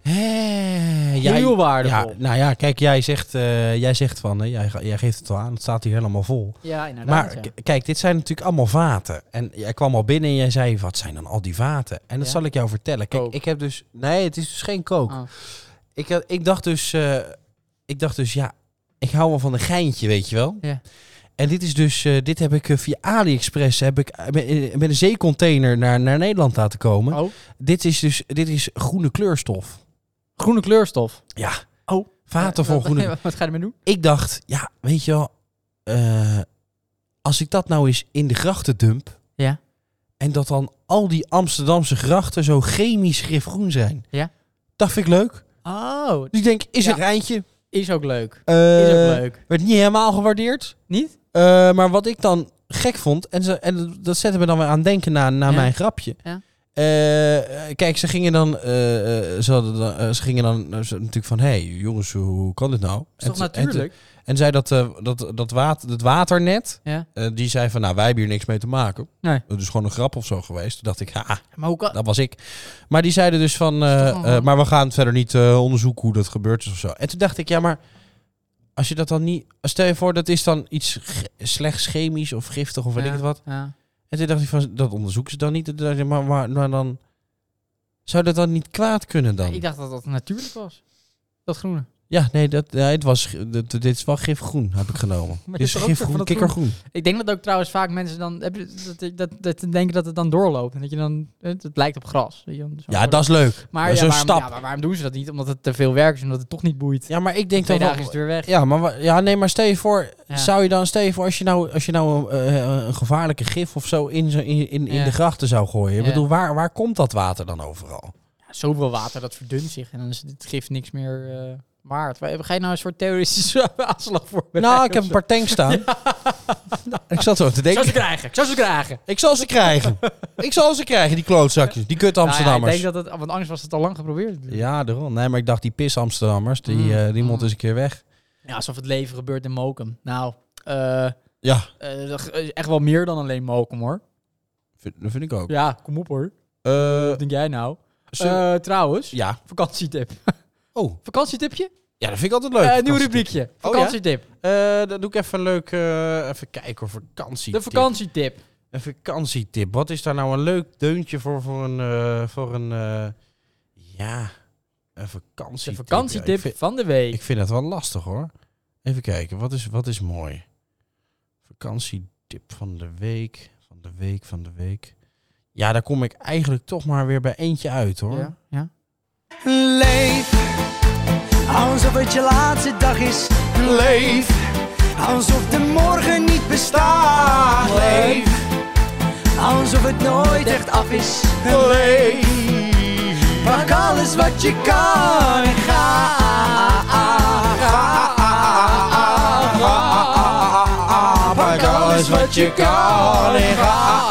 Hé, jij-
Heel waardevol.
ja, nou ja, kijk, jij zegt, eh, jij zegt van, hè, jij, ge- jij geeft het al aan, het staat hier helemaal vol.
Ja, inderdaad.
Maar
ja.
k- kijk, dit zijn natuurlijk allemaal vaten. En jij kwam al binnen en jij zei, wat zijn dan al die vaten? En dat
Ja.
zal ik jou vertellen. Kijk,
Coke.
ik heb dus... Nee, het is dus geen kook.
Ah.
Ik, had- ik, dacht dus, eh, ik dacht dus, ja, ik hou wel van een geintje, weet je wel.
Ja.
En dit is dus, eh, dit heb ik eh, via AliExpress, heb ik eh, met, eh, met een zeecontainer naar, naar Nederland laten komen.
Oh,
Dit is dus, dit is groene kleurstof.
groene kleurstof.
Ja.
Oh.
Vaten vol
Wat-
Ah, groene
Wat ga je ermee doen?
ik dacht, ja, weet je wel, eh, als ik dat nou eens in de grachten dump.
Ja.
En dat dan al die Amsterdamse grachten zo chemisch gifgroen zijn.
Ja.
Dat vind ik leuk.
Oh,
Dus ik denk, is
Ja.
een rijntje.
is ook leuk.
Eh,
Is ook leuk.
Werd niet helemaal gewaardeerd.
Niet?
Eh, maar wat ik dan gek vond, en, ze, en dat zette me dan weer aan denken na, na
Ja.
mijn grapje.
Ja.
Eh, eh, kijk, ze gingen dan, eh, eh, ze, hadden dan eh, ze gingen dan eh, ze- natuurlijk van, hé hey, jongens, hoe, hoe kan dit nou?
Is toch
te- te-
natuurlijk?
En, zei dat, eh, dat, dat, water, dat waternet,
Ja.
eh, die zei van, nou wij hebben hier niks mee te maken.
Nee.
Dat is gewoon een grap of zo geweest. Toen dacht ik, ha,
Maar hoe kan...
dat was ik. Maar die zeiden dus van, eh,
toch wel-
eh, maar we gaan verder niet eh, onderzoeken hoe dat gebeurd is of zo. En toen dacht ik, ja maar, als je dat dan niet, stel je voor dat is dan iets ge- slechts chemisch of giftig of weet ik
Ja,
het wat.
ja.
En toen dacht ik van, dat onderzoeken ze dan niet. En toen dacht ik, maar, maar, maar dan... Zou dat dan niet kwaad kunnen dan?
Ik dacht dat dat natuurlijk was. Dat groene.
Ja, nee, dat, nee het was, dit, dit is wel gifgroen, heb ik genomen.
Maar
Dit is
dit is ook weer van
gifgroen,
dat
kikkergroen.
Ik denk dat ook trouwens vaak mensen dan... Heb je, dat, dat, dat, denken dat het dan doorloopt. En dat je dan... Het, het lijkt op gras. weet je wel, zo'n
Ja,
soort-
dat is leuk.
Maar,
dat is
ja,
een
waarom,
stap.
ja, maar waarom doen ze dat niet? Omdat het te veel werk is en omdat het toch niet boeit.
Ja, maar ik denk
Twee
dan
dagen is
wel...
het weer weg.
Ja, maar, wa- ja, nee, maar stel je voor,
Ja.
zou je dan, stel je voor, als je nou, als je nou eh, een gevaarlijke gif of zo in, zo- in, in, in
Ja.
de grachten zou gooien. Ik
Ja.
bedoel, waar, waar komt dat water dan overal?
Ja, zoveel water, dat verdunt zich. En dan is het gif niks meer eh, waard. Waar- Ga je nou een soort terroristische aanslag voor
nou, ik heb een paar tanks staan. Ik zat zo te
Ik zou
denken.
ze krijgen, ik zou ze krijgen.
Ik zal ze krijgen. ik zal ze krijgen, die klootzakjes. Die kut
Nou ja,
Amsterdammers.
ik denk dat het, want anders was het al lang geprobeerd.
ja, daarom. Nee, maar ik dacht, die pis Amsterdammers, die,
Mm.
eh, die mond
Mm.
eens een keer weg.
Ja, alsof het leven gebeurt in Mokum. Nou, eh,
Ja,
eh, dat is echt wel meer dan alleen Mokum hoor.
vind, dat vind ik ook.
Ja, kom op hoor.
Eh,
Wat denk jij nou?
zullen-
Eh, trouwens,
ja.
vakantietip.
Oh,
Vakantietipje?
ja, dat vind ik altijd leuk.
Eh, nieuw
vakantie.
rubriekje.
ja?
Vakantietip.
Eh, dan doe ik even een leuk, eh, even kijken, of vakantie.
De vakantietip.
Een vakantietip. Wat is daar nou een leuk deuntje voor, voor een, eh, voor een, eh, ja, een vakantietip.
De
Ja, ik
vakantietip
vind-
van de week.
Ik vind dat wel lastig hoor. Even kijken, wat is, wat is mooi? Vakantietip van de week, van de week, van de week. Ja, daar kom ik eigenlijk toch maar weer bij eentje uit hoor.
Ja, ja.
Leef, alsof het je laatste dag is. Leef, alsof de morgen niet bestaat. Leef, alsof het nooit echt af is. Leef, pak alles wat je kan en ga. ga. Pak alles wat je kan en ga. ga.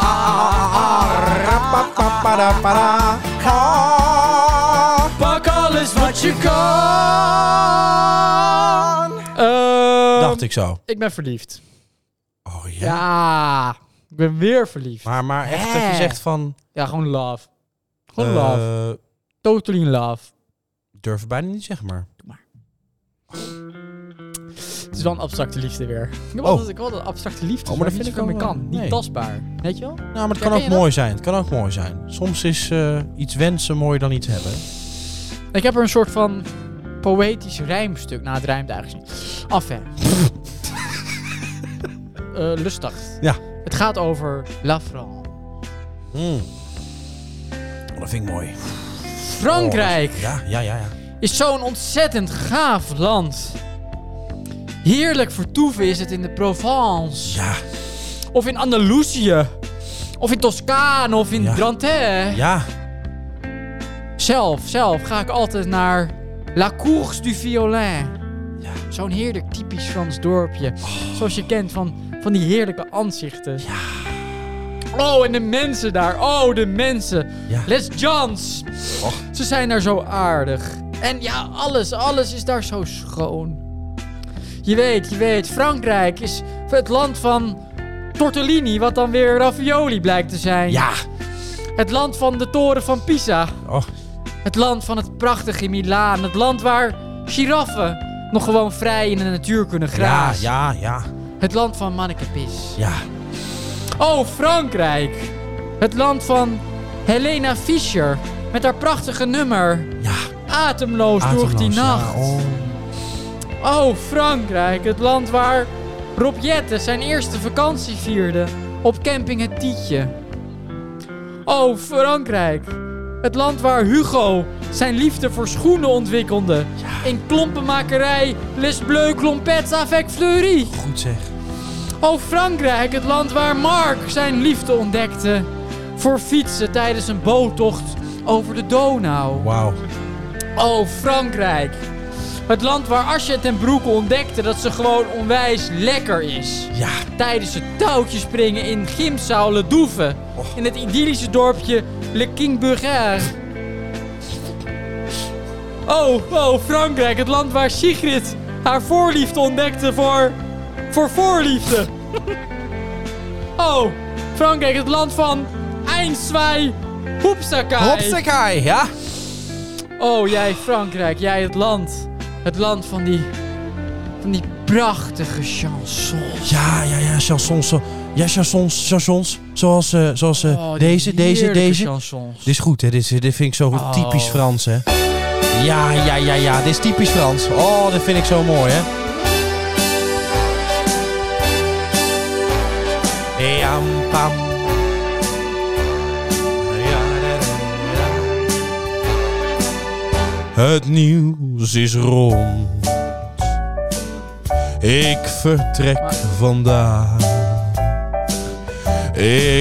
Pak alles wat je kan.
Dacht ik zo.
Ik ben verliefd.
Oh ja.
Ja. ik ben weer verliefd.
Maar, maar echt dat je
Hè?
zegt van...
Ja, gewoon love. Gewoon
eh,
love. Totally in love.
durf het bijna niet zeg maar.
Het is wel een abstracte liefde weer. Ik heb
Oh.
altijd, ik heb altijd abstracte liefde,
Oh,
maar
maar
dat
dat
vind ik
vind ik
meer
ook
kan.
wel-
Niet
nee.
tastbaar. Weet je wel?
Nou, maar het
Ja, ken
kan ook
je dat?
mooi zijn. Het kan ook mooi zijn. Soms is eh, iets wensen mooier dan iets hebben.
Ik heb er een soort van poëtisch rijmstuk. Nou, het rijmt eigenlijk niet. Af, hè. Eh, lustig.
Ja.
Het gaat over La France.
Mm. Oh, dat vind ik mooi. Oh,
Frankrijk
Ja, ja, ja, ja.
is zo'n ontzettend gaaf land. Heerlijk vertoeven is het in de Provence.
Ja,
Of in Andalusië. Of in Toscane of in
Ja.
Drenthe.
ja.
Zelf, zelf ga ik altijd naar La Course du Violin.
Ja.
Zo'n heerlijk typisch Frans dorpje. Zoals je kent van, van die heerlijke aanzichten. Oh, en de mensen daar. Oh, de mensen.
Ja.
Les Johns. Ze zijn daar zo aardig. En ja, alles, alles is daar zo schoon. Je weet, je weet, Frankrijk is het land van tortellini, wat dan weer ravioli blijkt te zijn.
Ja.
Het land van de toren van Pisa.
Oh,
Het land van het prachtige Milaan. Het land waar giraffen nog gewoon vrij in de natuur kunnen
ja,
grazen.
ja, ja.
Het land van mannekepis.
Ja.
Oh, Frankrijk. Het land van Helena Fischer. Met haar prachtige nummer.
Ja.
Atemloos, door die
Atemloos, ja.
nacht.
Oh.
Oh, Frankrijk, het land waar Rob Jette zijn eerste vakantie vierde op camping Het Tietje. Oh, Frankrijk, het land waar Hugo zijn liefde voor schoenen ontwikkelde in klompenmakerij Les Bleu Clompets avec Fleury.
Goed zeg.
Oh, Frankrijk, het land waar Mark zijn liefde ontdekte voor fietsen tijdens een boottocht over de Donau.
Wauw.
Oh, Frankrijk. Het land waar Asje en Broeke ontdekten dat ze gewoon onwijs lekker is.
Ja.
Tijdens het touwtjespringen in Gimsaulen Doeven.
Och.
In het idyllische dorpje Le King Bulgaire. Oh, oh, Frankrijk, het land waar Sigrid haar voorliefde ontdekte voor. voor voorliefde. Oh, Frankrijk, het land van. Eindzwei Hoepsakai.
Hopsakai, ja?
Oh, jij Frankrijk, jij het land. Het land van die. van die prachtige chansons.
Ja, ja, ja, chansons. zo- Ja, chansons, chansons. Zoals, eh, zoals eh,
Oh, die
deze, deze,
heerlijke
deze.
Chansons.
Dit is goed, hè? Dit, is, dit vind ik zo goed.
Oh.
Typisch Frans, hè? Ja, ja, ja, ja. Dit is typisch Frans. Oh, dit vind ik zo mooi, hè? Jam, pam. Ja, da, da, da. Het nieuws is rond. Ik vertrek vandaag.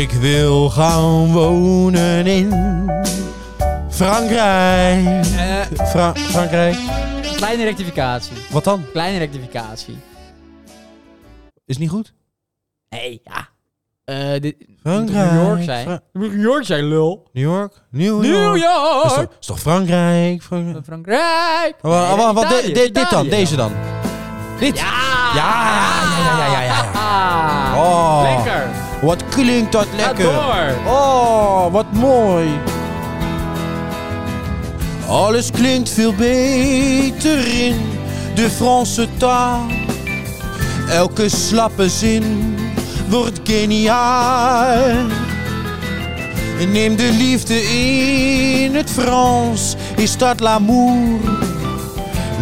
Ik wil gaan wonen in Frankrijk.
Eh,
Fra- Frankrijk.
kleine rectificatie.
Wat dan?
Kleine rectificatie.
Is niet goed?
Nee, ja. Eh dit moet toch
Frankrijk.
New York zijn.
Fra-
Het moet New York zijn, lul.
New York? New York.
New
Dat Oh, Is, toch,
York!
is toch Frankrijk? Frankrijk.
Frankrijk!
Wa- ah, wa- wa- wat,
Italië,
dit- dit- dit dan?
Italië.
Deze dan? Dit?
Ja!
Ja, ja, ja, ja, ja,
Ah,
Oh.
Lekker!
Wat klinkt dat
Ga
lekker.
door!
Oh, wat mooi. Alles klinkt veel beter in de Franse taal. Elke slappe zin wordt geniaal. Neem de liefde in het Frans, is dat l'amour.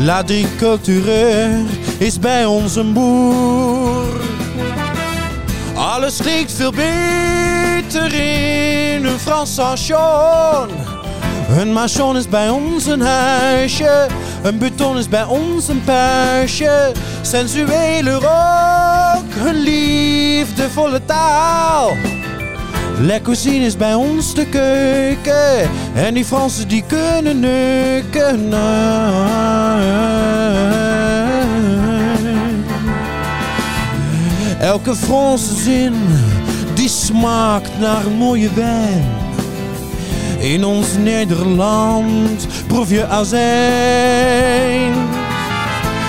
L'agricultureur is bij ons een boer. Alles klinkt veel beter in een Frans station. Een machon is bij ons een huisje. Een buton is bij ons een puisje. Sensuele rook, een liefdevolle taal. La cuisine is bij ons de keuken. En die Fransen die kunnen neuken. Ah. Elke Franse zin die smaakt naar mooie wijn. In ons Nederland proef je azijn.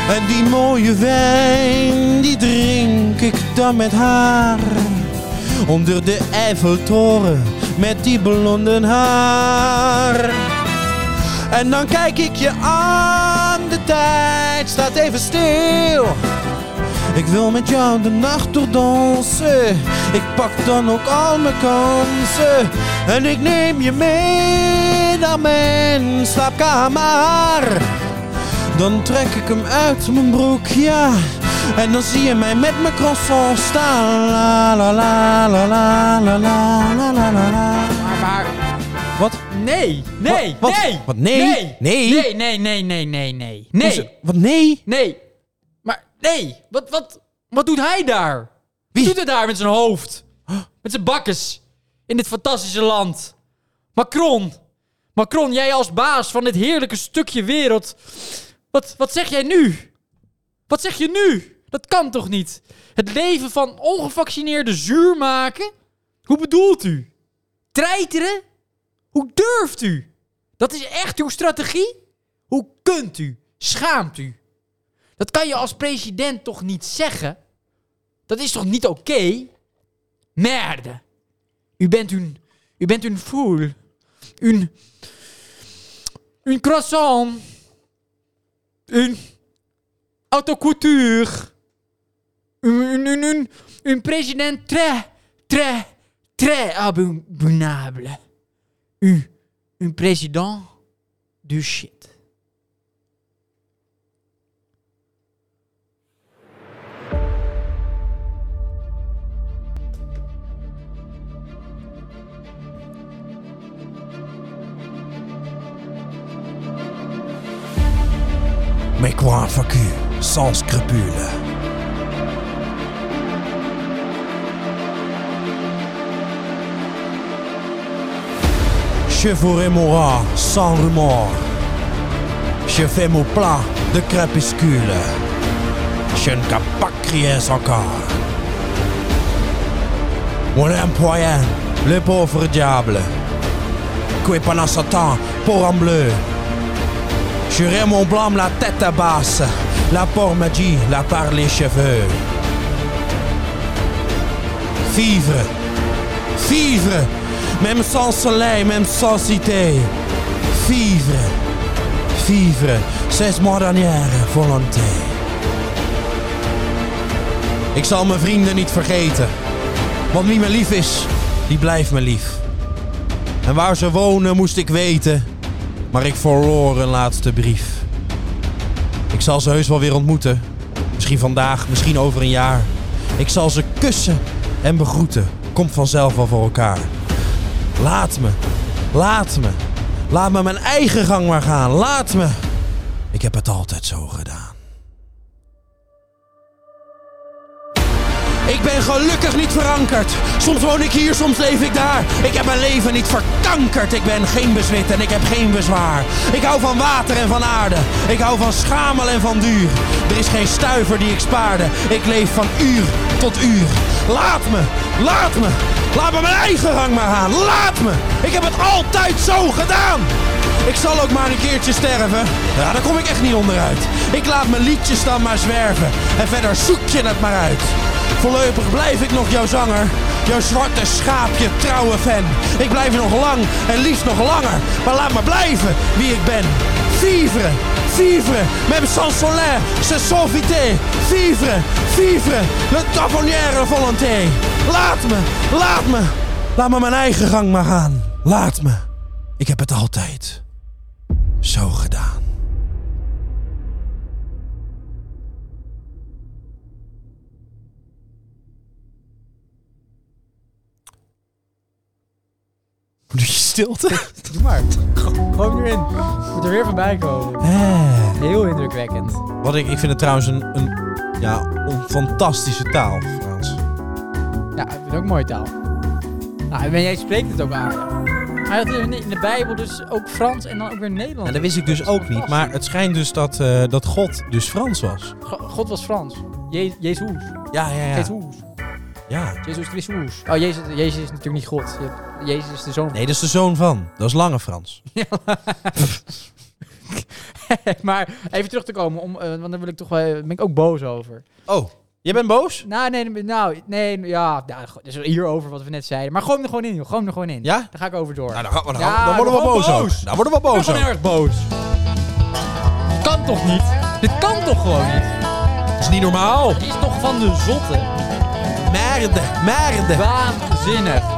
En die mooie wijn die drink ik dan met haar. Onder de Eiffeltoren met die blonde haar. En dan kijk ik je aan, de tijd staat even stil. Ik wil met jou de nacht doordansen. Ik pak dan ook al mijn kansen. En ik neem je mee naar mijn slaapkamer. Dan trek ik hem uit mijn broek, ja. En dan zie je mij met mijn croissant staan. La la la la la la la la la la la.
Maar, maar...
Wat?
Nee, nee,
Wat- wat-
nee!
wat, nee?
Nee!
Nee?
Nee, nee, nee, nee, nee, nee. Nee,
Wat? Nee?
nee. Maar, nee. Wat, wat, wat doet hij daar?
Wie?
doet hij daar met zijn hoofd? Met zijn bakkes? In dit fantastische land? Macron! Macron, jij als baas van dit heerlijke stukje wereld. Wat, wat zeg jij nu? Wat zeg je nu? Dat kan toch niet? Het leven van ongevaccineerden zuur maken? Hoe bedoelt u? Treiteren? Hoe durft u? Dat is echt uw strategie? Hoe kunt u? Schaamt u? Dat kan je als president toch niet zeggen? Dat is toch niet oké? Merde. U bent een... U bent een fool. Een... Een croissant. Een... Autocouture. Een... Een... Een, een, een president très... Très... Très abominable. U... Een president... Du shit.
Mais quoi, fuck you, sans scrupule. Je ferai mon rat sans remords. Je fais mon plat de crépuscule. Je ne peux pas crier encore. Mon employé, le pauvre diable. secoué pendant ce temps pour en bleu. J'irai mon blanc la tête à basse, la porte m'a dit la par les cheveux. Vivre, vivre, même sans soleil, même sans cité. Vivre, vivre, c'est mon dernière volonté. Ik zal mijn vrienden niet vergeten, want wie me lief is, die blijft me lief. En waar ze wonen moest ik weten, maar ik verloor een laatste brief. Ik zal ze heus wel weer ontmoeten. Misschien vandaag, misschien over een jaar. Ik zal ze kussen en begroeten. Komt vanzelf wel voor elkaar. Laat me, laat me. Laat me mijn eigen gang maar gaan. Laat me. Ik heb het altijd zo gedaan. Ik ben gelukkig niet verankerd. Soms woon ik hier, soms leef ik daar. Ik heb mijn leven niet verkankerd. Ik ben geen bezwit en ik heb geen bezwaar. Ik hou van water en van aarde. Ik hou van schamel en van duur. Er is geen stuiver die ik spaarde. Ik leef van uur tot uur. Laat me, laat me. Laat me mijn eigen gang maar gaan. Laat me. Ik heb het altijd zo gedaan. Ik zal ook maar een keertje sterven. Ja, daar kom ik echt niet onderuit. Ik laat mijn liedjes dan maar zwerven. En verder zoek je het maar uit. Voorlopig blijf ik nog jouw zanger. Jouw zwarte schaapje, trouwe fan. Ik blijf nog lang en liefst nog langer. Maar laat me blijven wie ik ben. Vivre, vivre, même sans soleil, c'est sauvité. Vivre, vivre, le tavernière volonté. Laat me, laat me. Laat me mijn eigen gang maar gaan. Laat me. Ik heb het altijd zo gedaan. Doe je stilte?
Doe maar. Gewoon erin. Moet er weer van bij komen. Heel indrukwekkend.
Wat ik, ik vind het trouwens een, een, ja, een fantastische taal,
Oh,
Frans.
Ja, ik vind het ook een mooie taal. Nou, en jij spreekt het ook aardig. Maar dat is in de Bijbel dus ook Frans en dan ook weer Nederlands.
En dat wist ik dus ook niet. Maar het schijnt dus dat, eh, dat God dus Frans was.
Go- God was Frans. Je Jezus.
Ja, ja, ja.
Jezus.
ja.
Jezus Christus. Oh, Jezus, Jezus is natuurlijk niet God. Je hebt- Jezus is de zoon.
Nee, dat is de zoon van. Dat is Lange Frans.
maar even terug te komen, om, eh, want daar wil ik toch, wel- ben ik ook boos over.
Oh, jij bent boos?
Nou, nee, nou, nee, ja, nou, go- dus hierover wat we net zeiden. Maar gooi hem er gewoon in, joh. Gooi hem er gewoon in.
Ja?
Daar ga ik over door.
Nou, dan, gaan we- dan,
Ja,
gaan we- dan worden we
gewoon
boos.
boos.
ook. Dan worden we boos. ook.
erg boos. Kan toch niet? Dit kan toch gewoon niet?
Dat is niet normaal.
Het is toch van de zotte?
Merde, merde.
Waanzinnig.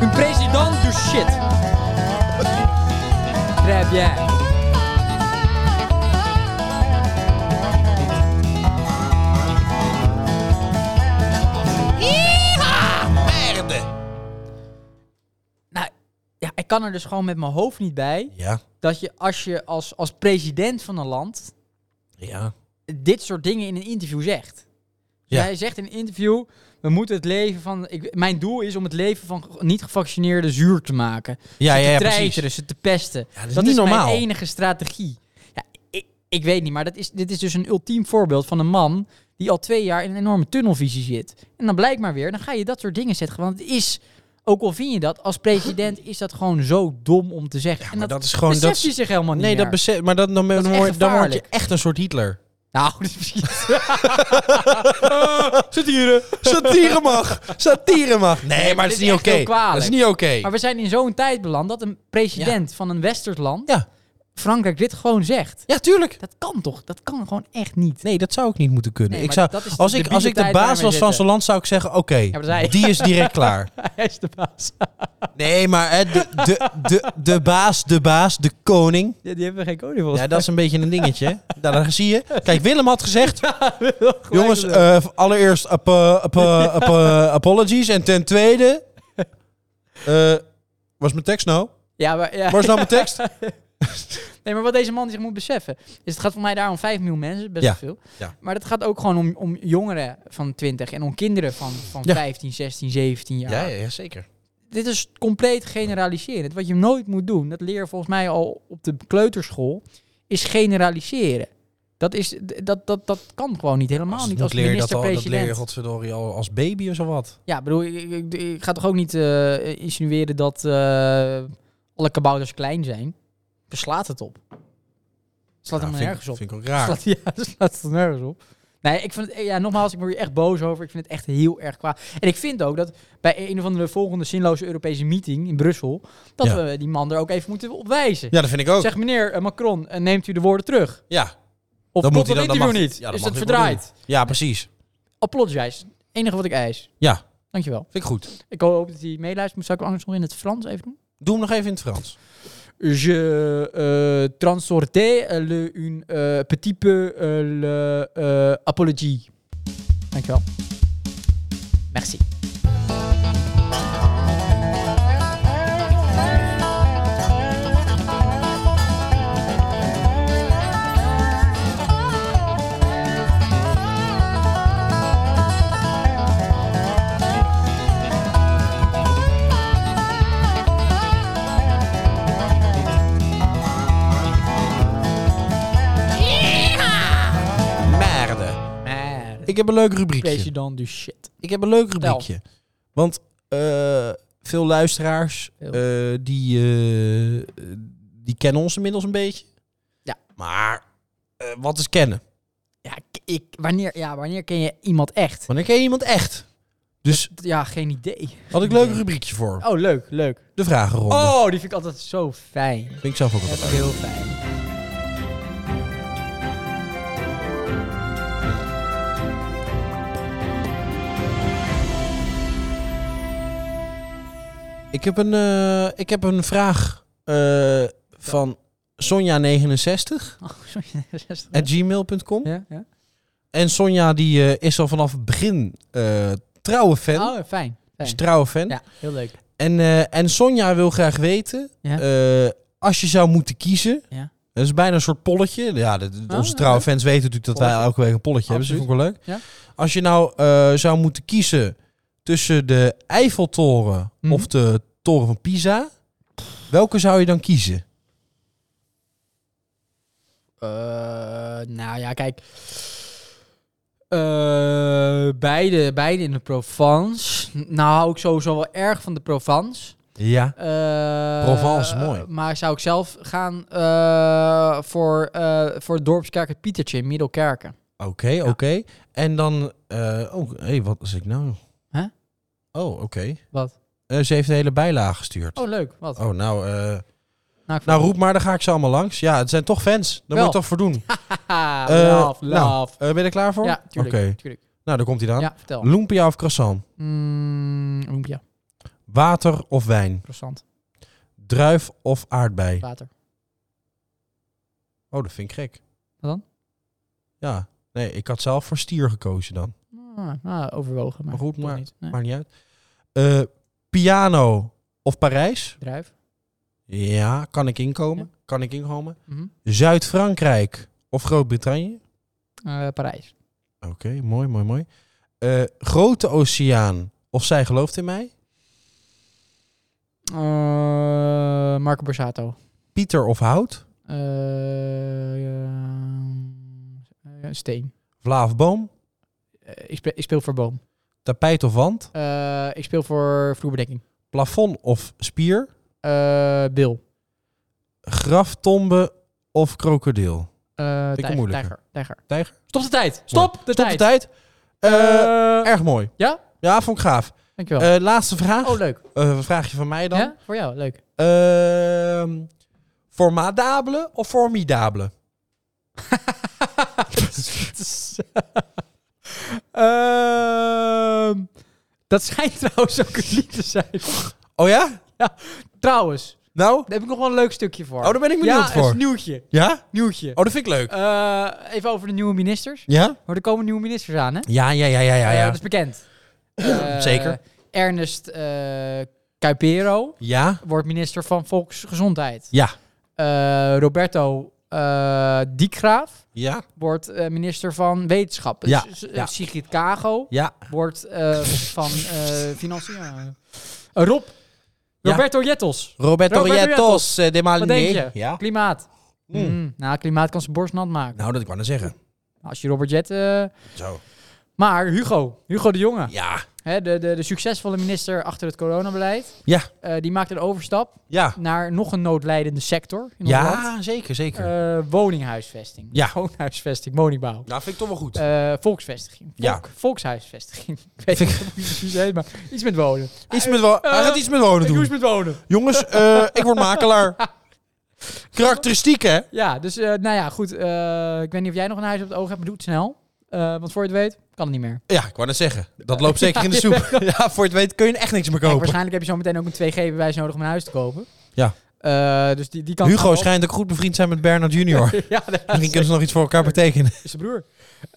Een president doet shit. Très bien.
Merde.
Nou, ja, ik kan er dus gewoon met mijn hoofd niet bij
Ja,
dat je als je als, als president van een land
ja.
dit soort dingen in een interview zegt. Dus
Ja.
Jij zegt in een interview, we moeten het leven van... Ik, mijn doel is om het leven van ge- niet gevaccineerden zuur te maken.
Ja,
ze
ja, ja,
te
precies.
treiteren, ze te pesten.
dat is niet normaal.
mijn enige strategie. Ja, ik, ik weet niet, maar dat is, dit is dus een ultiem voorbeeld van een man... die al twee jaar in een enorme tunnelvisie zit. En dan blijkt maar weer, dan ga je dat soort dingen zeggen. Want het is, ook al vind je dat, als president is dat gewoon zo dom om te zeggen.
Ja,
en
maar
dat,
dat is gewoon...
beseft
Dat
hij
is-
zich helemaal niet
nee, dat
meer.
besef... Maar dat, dan,
is
dan,
echt
word, dan word je
gevaarlijk.
echt een soort Hitler.
Nou, dat is precies...
Satire. Satire mag. Satire mag. Nee, maar dat
dit
is
is
niet
echt
oké.
heel kwalijk.
Dat is niet oké.
Maar we zijn in zo'n tijd beland dat een president van een westers land,
Ja.
Frankrijk, dit gewoon zegt.
Ja, tuurlijk.
Dat kan toch? Dat kan gewoon echt niet.
Nee, dat zou ik niet moeten kunnen.
Nee,
ik
maar
zou,
dat is de
als, ik, als
debiele
ik de
tijd waar
baas
we
was van
zitten.
zo'n land, zou ik zeggen: oké,
maar dat zei-
die is direct klaar.
Hij is de baas.
Nee, maar hè, de, de, de, de baas, de baas, de koning.
Ja, die hebben geen koning volgens
Ja, dat is een beetje een dingetje. hè. Nou, daar zie je. Kijk, Willem had gezegd:
mij.
jongens, eh, allereerst ap- eh, ap- eh, ap- eh, apologies. En ten tweede. eh was mijn tekst nou?
Ja, maar, ja.
Waar is nou mijn tekst?
Nee, maar wat deze man zich moet beseffen, is het gaat voor mij daar om 5 miljoen mensen, best
Ja.
wel veel.
Ja.
Maar het gaat ook gewoon om, om jongeren van 20 en om kinderen van, van
Ja.
15, 16, 17 jaar.
zeker.
Dit is compleet generaliserend. Wat je nooit moet doen, dat leer je volgens mij al op de kleuterschool, is generaliseren. Dat, is, d- dat, dat, dat kan gewoon niet helemaal.
Als-
Oh, niet
dat
als
leer je dat, al, dat
minister-president.
leer je godverdorie al als baby of zo wat.
Ja, ik bedoel, ik, ik, ik ga toch ook niet eh, insinueren dat eh, alle kabouters klein zijn. Er slaat het op. Het slaat
Nou,
helemaal
vind,
nergens op.
Vind ik ook raar.
Slaat, ja, het slaat er nergens op. Nee, ik vind het, ja, nogmaals, ik ben hier echt boos over. Ik vind het echt heel erg kwaad. En ik vind ook dat bij een of andere volgende zinloze Europese meeting in Brussel, dat
Ja.
we die man er ook even moeten op wijzen.
Ja, dat vind ik ook.
Zeg meneer eh, Macron, eh, neemt u de woorden terug?
ja.
Of
Dan
klopt
moet hij
dat
dan- dan
interview
mag-
niet?
ja, dan
Is
mag
dat
hij het wel
verdraaid?
ja, precies.
Apologize. Enige wat ik eis.
Ja, vind
Dankjewel.
ik goed.
Ik hoop dat hij meeluistert. Moet- Zou ik anders nog in het Frans even doen?
Doe hem nog even in het Frans.
Je euh, transportais le, une euh, petit peu euh, le euh, apologie. Dankjewel. Merci.
Merde. Ik eh, heb een leuk rubriekje.
President du dus shit.
Ik heb een leuk rubriekje. Want eh, veel luisteraars
Heel.
eh, die, eh, die kennen ons inmiddels een beetje.
Ja.
Maar eh, wat is kennen?
Ja, k- ik, wanneer, ja, wanneer ken je iemand echt?
Wanneer ken je iemand echt? Dus
Ja, geen idee.
had ik een leuk rubriekje voor.
Oh, leuk, leuk.
De vragenronde.
Oh, die vind ik altijd zo fijn.
Vind ik zelf ook
Dat
wel
is
leuk.
heel fijn.
Ik heb een, eh, ik heb een vraag eh, van Sonja69
Oh, sorry.
at gmail.com.
Ja, ja.
En Sonja die eh, is al vanaf het begin eh, trouwe fan.
Oh, fijn.
Is
fijn.
trouwe fan.
Ja, heel leuk.
En, eh, en Sonja wil graag weten,
Ja.
eh, als je zou moeten kiezen,
Ja.
dat is bijna een soort polletje. Ja, dat-
Ah,
onze
ja,
trouwe fans weten natuurlijk dat wij
Polletje.
elke week een polletje hebben, dus dat vond ik wel leuk.
Ja.
Als je nou eh, zou moeten kiezen tussen de Eiffeltoren
Mhm.
of de Toren van Pisa, welke zou je dan kiezen?
Eh, nou ja, kijk. Eh, beide, beide in de Provence. N- Nou hou ik sowieso wel erg van de Provence.
Ja.
Eh,
Provence, mooi.
Maar zou ik zelf gaan eh, voor, eh voor het dorpskerk het Pietertje in Middelkerken.
Oké, oké. En dan, eh oh, hé, wat is ik nou?
Hè?
Oh, oké.
Wat?
Eh, ze heeft de hele bijlage gestuurd.
Oh, leuk. Wat?
Oh, nou, eh,
Nou, ik
Nou,
vond-
roep maar, dan ga ik ze allemaal langs. Ja, het zijn toch fans.
Wel.
Daar moet je toch voor doen.
Haha,
Eh,
Ah, love,
nou,
love.
Eh, ben je er klaar voor?
ja, tuurlijk.
Oké.
tuurlijk.
Nou, daar komt hij dan.
Ja, vertel.
Lumpia of croissant?
Mm, lumpia,
Water of wijn?
croissant,
Druif of aardbei?
water.
Oh, dat vind ik gek.
Wat dan?
Ja. Nee, ik had zelf voor stier gekozen dan.
Ah, nou, overwogen, maar,
Maar goed,
toch
maar-
niet. Nee.
Maakt niet uit. Eh, piano of Parijs?
Druif.
Ja, kan ik inkomen. Kan ik inkomen.
Mhm.
Zuid-Frankrijk of Groot-Brittannië?
Eh, Parijs.
Oké, mooi, mooi, mooi. Eh, grote Oceaan of Zij gelooft in mij?
Eh, Marco Borsato.
Pieter of Hout?
Eh, eh, Steen.
Vla of Boom?
Eh, ik, speel, ik speel voor Boom.
Tapijt of wand?
Eh, ik speel voor Vloerbedekking.
Plafond of spier?
Eh Bill.
Graftombe of krokodil?
Eh
ik een
tijger,
moeilijke.
tijger, tijger.
Tijger?
Stop de tijd. Stop de
Stop
tijd.
de tijd. Eh,
Eh,
erg mooi.
ja?
Ja, vond ik gaaf.
dankjewel.
Eh, laatste vraag.
oh, leuk.
Eh, een vraagje van mij dan.
Ja? Voor jou, leuk.
Ehm, formadabele of formidabele?
Ehm, dat schijnt trouwens ook een lied te zijn.
Oh ja?
trouwens,
Nou?
daar heb ik nog wel een leuk stukje voor.
Oh, daar ben
ja,
ik benieuwd
Ja,
voor.
is nieuwtje.
Ja?
Nieuwtje.
Oh, dat vind ik leuk.
Eh, even over de nieuwe ministers.
Ja?
Maar er komen nieuwe ministers aan, hè?
Ja, ja, ja, ja, ja.
Eh,
Ja?
dat is bekend. Eh,
Zeker.
Ernest eh Kuipero
Ja?
wordt minister van Volksgezondheid.
Ja.
Eh, Roberto eh Diekraaf
Ja?
wordt eh, minister van Wetenschap.
Ja,
S- s-
ja.
Sigrid Kago
Ja?
wordt eh, van eh Financiën. Eh, Rob.
Ja.
Roberto Jettels.
Roberto
Roberto
Rietos eh, de
Wat denk
Maline.
je?
Ja?
Klimaat.
Mm.
Mm, nou, klimaat kan zijn borst nat maken.
Nou, dat ik wou net zeggen.
Als je Robert Jet... eh,
Zo.
maar Hugo, Hugo de Jonge,
Ja.
hè, de, de, de succesvolle minister achter het coronabeleid,
Ja.
eh, die maakt een overstap
Ja.
naar nog een noodlijdende sector in ons land.
Ja, zeker, zeker.
Eh, woninghuisvesting.
Ja.
Woonhuisvesting, woningbouw.
nou, vind ik toch wel goed.
Eh, volksvestiging.
Ja.
Volk- Volkshuisvesting. Ik weet niet hoe je het precies heet, maar iets met wonen.
iets met wo- hij gaat iets met
eh, Ik
wonen
doe
doen.
iets met wonen.
Jongens, eh, ik word makelaar. Karakteristiek, hè?
Ja, dus eh, nou ja, goed. eh, ik weet niet of jij nog een huis op het oog hebt, maar doe het snel. Eh, want voor je het weet, kan het niet meer.
Ja, ik wou net zeggen. Dat loopt zeker in de soep. Ja, voor het weet kun je echt niks meer
Kijk,
kopen.
waarschijnlijk heb je zo meteen ook een 2G-bewijs nodig om een huis te kopen.
Ja.
Eh, dus die, die kan...
Hugo schijnt ook goed bevriend zijn met Bernard Junior.
Ja, dat
Misschien kunnen ze nog iets voor elkaar betekenen.
is zijn broer.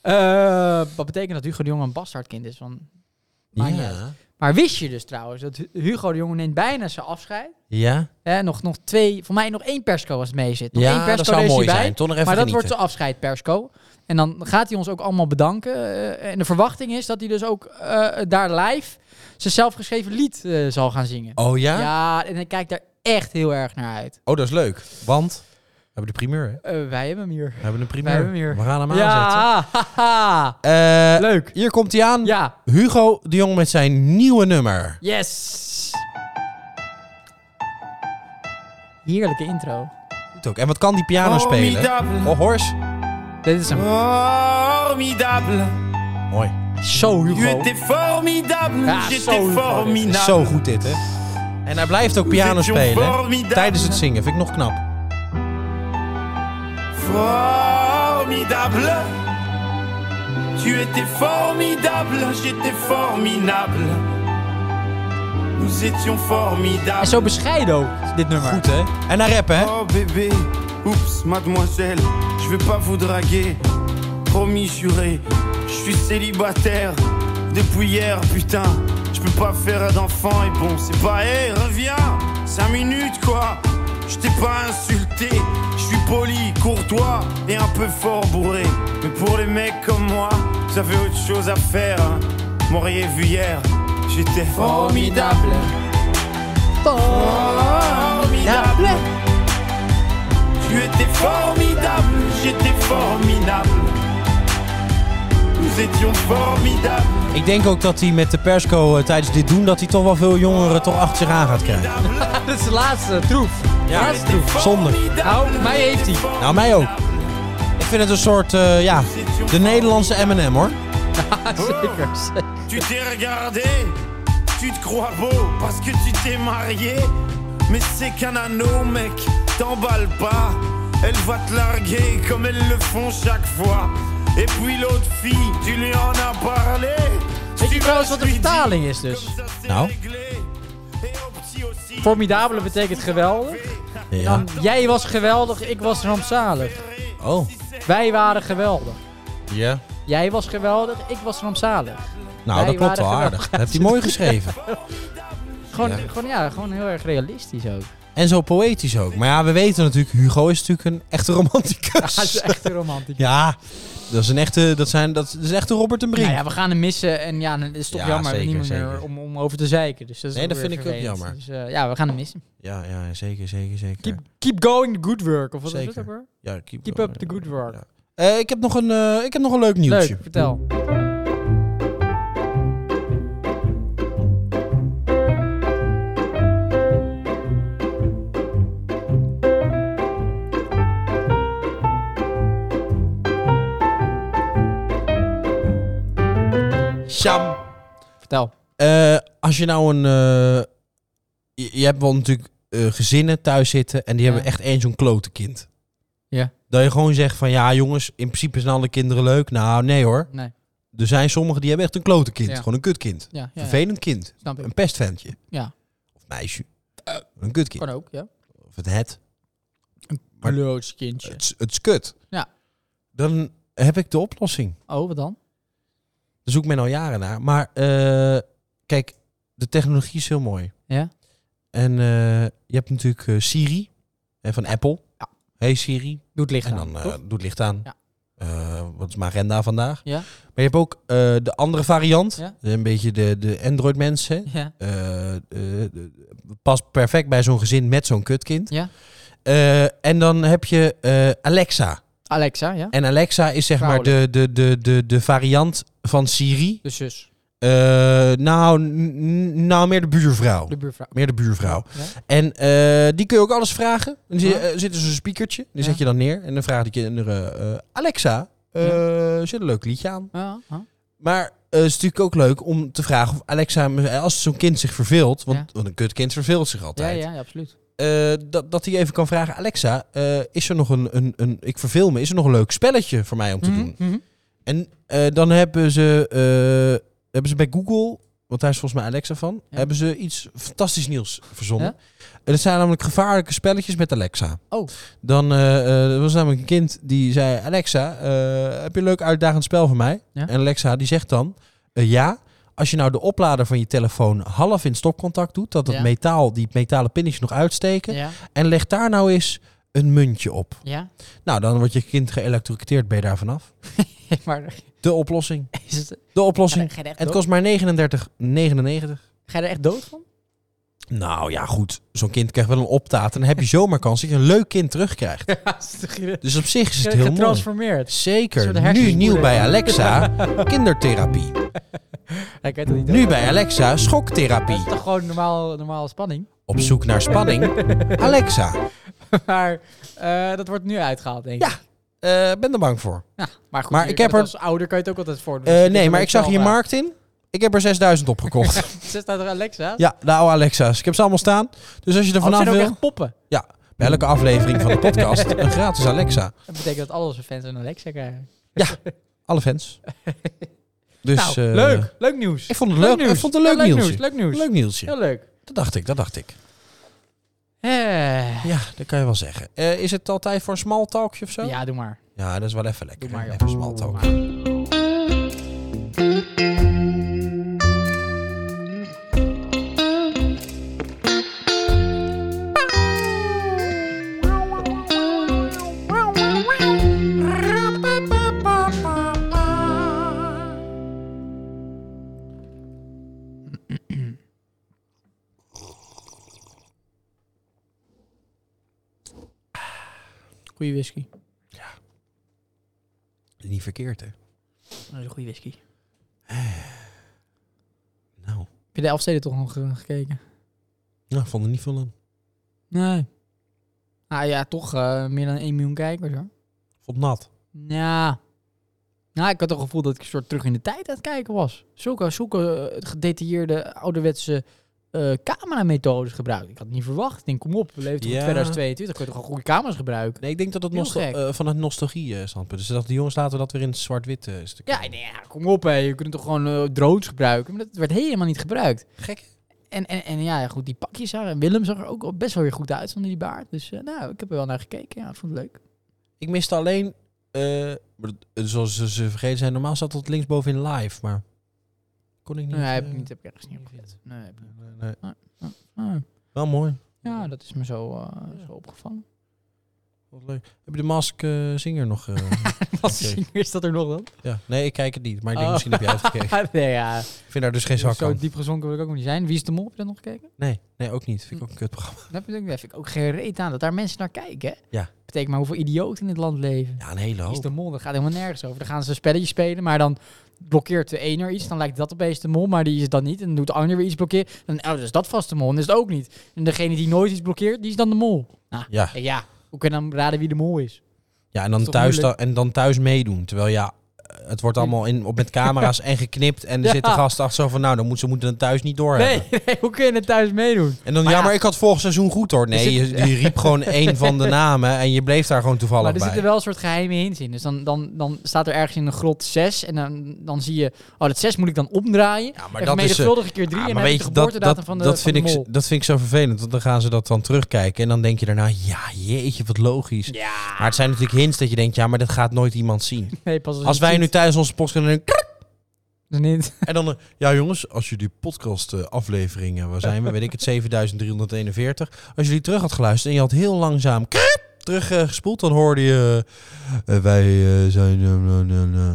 Eh, wat betekent dat Hugo de Jonge een bastardkind is van... Maakt niet uit. Maar wist je dus trouwens dat Hu- Hugo de Jonge neemt bijna zijn afscheid?
Ja,
Hè, nog, nog twee, voor mij nog één persco als het mee zit. Nog één
ja
persco
dat zou
er is
mooi
hij bij.
zijn. Toch nog even
maar dat
genieten.
wordt zijn afscheid persco. En dan gaat hij ons ook allemaal bedanken. Eh, en de verwachting is dat hij dus ook eh, daar live zijn zelfgeschreven lied eh, zal gaan zingen.
Oh ja?
Ja, en ik kijk daar echt heel erg naar uit.
Oh, dat is leuk. Want we hebben de primeur, hè?
Eh, wij hebben hem hier.
We hebben een
Wij
primeur.
hebben hem hier.
We gaan hem aanzetten.
Ja, haha.
Eh,
leuk.
hier komt hij aan.
Ja,
Hugo de Jong met zijn nieuwe nummer.
yes. Heerlijke intro.
Goed ook. En wat kan die piano spelen? Oh, Horst.
Dit is hem.
Formidable.
Mooi.
Zo
U
Hugo.
était formidable.
Ah,
J'étais
zo,
formidable.
Zo goed dit, hè? En hij blijft ook piano
Nous étions
spelen
formidables.
tijdens het zingen. Vind ik nog knap.
Formidable. Tu étais formidable. J'étais formidable. Nous étions
En
formidables.
zo bescheiden ook, dit nummer.
Goed, hè? En hij rappen, hè?
Oh bébé, oups mademoiselle, je vais pas vous draguer. Promis juré, je suis célibataire depuis hier, putain. Je peux pas faire d'enfant et bon, c'est pas, hé, reviens, 5 minutes quoi. Je t'ai pas insulté, je suis poli, courtois et un peu fort bourré. Mais pour les mecs comme moi, vous avez autre chose à faire. hein. M'auriez vu hier, j'étais formidable. Formidable. Tu étais formidable, j'étais formidable. Nous étions formidables.
Ik denk ook dat hij met de persco eh, tijdens dit doen... dat hij toch wel veel jongeren toch achter zich aan gaat krijgen.
Dit is de laatste troef.
Ja,
Laatste troef.
zonde.
Nou, mij heeft hij.
Nou, mij ook. Ik vind het een soort, eh, ja, de Nederlandse M&M, hoor.
Zeker, zeker.
Tu t'es regardé, tu te crois beau parce que tu t'es marié. Mais c'est qu'un anneau, mec, t'emballe pas. Elle va te larguer comme elles le font chaque fois. Et puis l'autre fille, tu lui en as parlé.
Weet je
Tu
trouwens wat de
lui dis,
vertaling is
comme
dus?
ça, c'est
Nou.
réglé. Et au petit aussi.
Formidabele betekent geweldig.
Ja.
Jij was geweldig, ik was rampzalig.
Oh.
Wij waren geweldig.
Ja.
Jij was geweldig, ik was rampzalig.
Nou, dat
Wij
klopt
waren
wel aardig. Dat heeft hij mooi geschreven.
Gewoon,
Ja.
Gewoon, ja, gewoon heel erg realistisch ook.
En zo poëtisch ook. Maar ja, we weten natuurlijk, Hugo is natuurlijk een echte romanticus.
Ja, dat is echt een romantiek.
Ja, dat is een echte, dat zijn, dat is echt een Robert en Brink.
Nou ja, we gaan hem missen en ja, dan is het toch
Ja,
jammer
zeker,
niemand meer
zeker.
om, om over te zeiken. Dus dat is
Nee,
wel
dat
weer
vind ik ook
vervelend.
jammer.
Dus, eh, ja, we gaan hem missen.
ja, ja, zeker, zeker, zeker.
Keep, keep going the good work, of wat is
Zeker.
het ook hoor?
ja, keep,
keep up the good work.
Ja. Eh, ik, heb nog een, eh, ik heb nog een leuk nieuwtje.
Leuk, vertel.
Sham.
Vertel.
Eh, als je nou een... eh, je, je hebt wel natuurlijk eh, gezinnen thuis zitten en die
Ja.
hebben echt één zo'n klote kind.
Ja.
Dat je gewoon zegt van, ja jongens, in principe zijn alle kinderen leuk. Nou, nee hoor.
Nee.
Er zijn sommigen die hebben echt een klote kind.
Ja.
Gewoon een kutkind.
Ja, ja, ja.
Vervelend kind.
snap ik.
Een pestventje.
Ja. Eh.
Of meisje. een kutkind.
Kan ook, ja.
Of het het. Maar-
Klootskindje.
Het, is- het is kut.
Ja.
Dan heb ik de oplossing.
Oh, wat dan?
Daar zoek men al jaren naar. Maar eh, kijk, de technologie is heel mooi.
Ja.
En eh, je hebt natuurlijk eh, Siri hè, van Apple.
Ja.
Hey Siri.
Doet licht
en
aan.
dan eh,
toch?
doet het licht aan.
Ja.
Eh, wat is mijn agenda vandaag?
Ja.
Maar je hebt ook eh, de andere variant.
Ja.
Een beetje de, de Android mensen.
Ja.
eh eh, de- de- past perfect bij zo'n gezin met zo'n kutkind.
Ja.
Eh, en dan heb je eh, Alexa.
Alexa, ja?
En Alexa is zeg maar de, de, de, de, de variant van Siri.
De zus,
Eh, nou, n- n- nou, meer de buurvrouw.
de buurvrouw.
Meer de buurvrouw.
Ja?
En eh, die kun je ook alles vragen. Er zit,
Ja.
eh, zit dus een spiekertje. Die
Ja.
zet je dan neer. En dan vraagt je eh, eh, Alexa, eh, zet een leuk liedje aan.
Ja, ja.
Maar eh, het is natuurlijk ook leuk om te vragen of Alexa, als zo'n kind zich verveelt, want,
Ja.
want een kutkind verveelt zich
ja,
altijd,
ja, ja, absoluut.
eh, dat, dat hij even kan vragen, Alexa, eh, is er nog een, een, een, ik verveel me, is er nog een leuk spelletje voor mij om te
Mhm,
doen?
mhm.
En eh, dan hebben ze, eh, hebben ze bij Google, want daar is volgens mij Alexa van,
Ja.
hebben ze iets fantastisch nieuws verzonnen.
Ja?
En dat zijn namelijk gevaarlijke spelletjes met Alexa.
Oh.
Dan eh, eh, er was namelijk een kind die zei, Alexa, eh, heb je een leuk uitdagend spel voor mij?
Ja.
En Alexa die zegt dan, eh, ja, als je nou de oplader van je telefoon half in stopcontact doet, dat het
Ja.
metaal, die metalen pinnetjes nog uitsteken,
Ja,
en leg daar nou eens een muntje op.
ja.
Nou, dan wordt je kind geëlektrocuteerd, ben je daar vanaf.
maar
De oplossing.
is het,
De
ga, je,
oplossing.
ga, je er echt
En het
dood-
kost maar 39,99.
ga je er echt dood van?
Nou ja, goed. Zo'n kind krijgt wel een optaat. En dan heb je zomaar kans dat je een leuk kind terugkrijgt.
Ja, is toch
Dus op zich is het heel mooi.
getransformeerd. Een
Zeker.
soort
Nu nieuw bij
hersenspoeling.
Alexa, kindertherapie.
ik weet het niet.
Nu bij Alexa,
Dat
schoktherapie.
is toch gewoon normaal, normaal spanning?
Op zoek naar spanning. Alexa,
maar eh, dat wordt nu uitgehaald, denk ik.
Ja. eh, ben er bang voor.
Maar goed,
Maar
je
ik
kan
heb
het
er-
als ouder kan je het ook altijd voordoen.
Eh, nee, maar ik zag hier markt in. Ik heb er 6000 op gekocht.
Ze staat er Alexa.
Ja, de oude Alexa's. Ik heb ze allemaal staan. Dus als je er
Oh, het
vanaf
zijn ook
wil,
echt poppen.
bij elke aflevering van de podcast, een gratis Alexa.
Dat betekent dat alle onze fans een Alexa krijgen.
Alle fans. Dus,
nou,
eh,
leuk. Leuk nieuws.
Ik vond het leuk. Ik vond het een leuk
Ja, leuk
nieuwsje.
nieuws. Leuk nieuws.
Leuk nieuwsje.
Heel leuk.
Dat dacht ik, dat dacht ik.
Eh,
Ja, dat kan je wel zeggen. Eh, is het al tijd voor een small talkje of zo?
Ja, doe maar.
Ja, dat is wel even lekker.
Doe maar,
hè?
joh.
even small talk.
Maar- Goeie whisky.
Niet verkeerd, hè?
Dat is een goede whisky.
Nou,
Heb je de Elfsteden toch nog eh, gekeken?
nou ik vond er niet veel aan.
Nee. Nou ja, toch eh, meer dan 1 miljoen kijkers hoor.
Ik vond het nat.
Ja. Nou, ik had toch het gevoel dat ik een soort terug in de tijd aan het kijken was. Zulke, zulke eh, gedetailleerde ouderwetse eh cameramethodes gebruikt. Ik had het niet verwacht. Ik denk, kom op, we leven toch in
Ja.
2022. Kun je toch gewoon goede camera's gebruiken?
Nee, ik denk dat het
Heel
nostal-
gek.
eh, vanuit nostalgie-standpunt. dus dat de jongens laten we dat weer in het zwart-wit eh, stuk.
Ja, ik denk, ja, kom op, hè. je kunt toch gewoon eh, drones gebruiken. Maar dat werd helemaal niet gebruikt.
Gek.
En, en, en ja, goed, die pakjes daar. En Willem zag er ook wel best wel weer goed uit zonder die baard. Dus eh, nou, ik heb er wel naar gekeken. Ja, ik vond het leuk.
Ik miste alleen, eh, maar dat- eh, zoals ze, ze vergeten zijn, normaal staat dat linksbovenin live, maar kon ik niet.
Nee, heb
eh,
ik niet, eh. heb ik ergens niet op gezet. Nee, heb ik niet.
nee, nee.
Ah,
Wel mooi.
ja, dat is me zo, eh, zo opgevallen.
Wat leuk. Heb je de Mask eh, Singer nog? eh,
Wat
Oké.
is dat er nog dan?
ja. Nee, ik kijk het niet, maar ik denk
Oh.
misschien heb jij het gekeken.
nee, ja.
Ik vind daar dus geen zak
Zo
aan.
diep gezonken wil ik ook nog niet zijn. Wie is de mol? Heb je dat nog gekeken?
Nee, nee, ook niet. Vind ik ook een kutprogramma.
Dat heb ik- dat vind ik ook geen reet aan. Dat daar mensen naar kijken. hè?
Ja.
Betekent maar hoeveel idioten in dit land leven.
Ja, een hele
Wie is de
hoop.
mol? Dat gaat helemaal nergens over. Dan gaan ze spelletjes spelen, maar dan blokkeert de ene er iets. Dan lijkt dat opeens de mol, maar die is het dan niet. En dan doet de ander weer iets blokkeren. Dan oh, dat is dat vast de mol. En is het ook niet. En degene die nooit iets blokkeert, die is dan de mol. Nou,
Ja.
ja. Hoe kun je dan raden wie de mol is?
Ja, en
Is
dan,
toch
thuis,
moeilijk?
da- en dan thuis meedoen. Terwijl ja, eh, het wordt allemaal in, op met camera's en geknipt. En er
Ja.
zitten gasten achter zo van, nou, dan moeten ze moeten het thuis niet door
Nee,
hebben.
nee, hoe kun je het thuis meedoen?
En dan,
Maar
ja,
ja.
maar ik had vorig seizoen goed hoor. Nee,
zit-
je, die riep gewoon één van de namen en je bleef daar gewoon toevallig
Maar er
bij.
zitten wel een soort geheime hints in. Dus dan, dan, dan staat er ergens in een grot 6 en dan, dan zie je, oh dat 6 moet ik dan omdraaien.
Ja,
Maar dat is een keer 3
Ah,
en
maar
dan heb
weet
je de
je, dat,
geboortedatum
dat,
van de,
dat,
van
vind
de
ik, zo-
mol.
dat vind ik zo vervelend. Want dan gaan ze dat dan terugkijken. En dan denk je daarna, ja, jeetje, wat logisch.
Ja.
Maar het zijn natuurlijk hints dat je denkt, ja, maar dat gaat nooit iemand zien.
Nee, pas als,
Als wij nu thuis onze podcast doen,
niet.
En dan, eh, ja jongens, als jullie podcast eh, afleveringen, waar zijn we, weet ik het, 7341. Als jullie terug had geluisterd en je had heel langzaam kriep terug eh, gespoeld, dan hoorde je, eh, eh, wij eh, zijn... eh, eh, eh,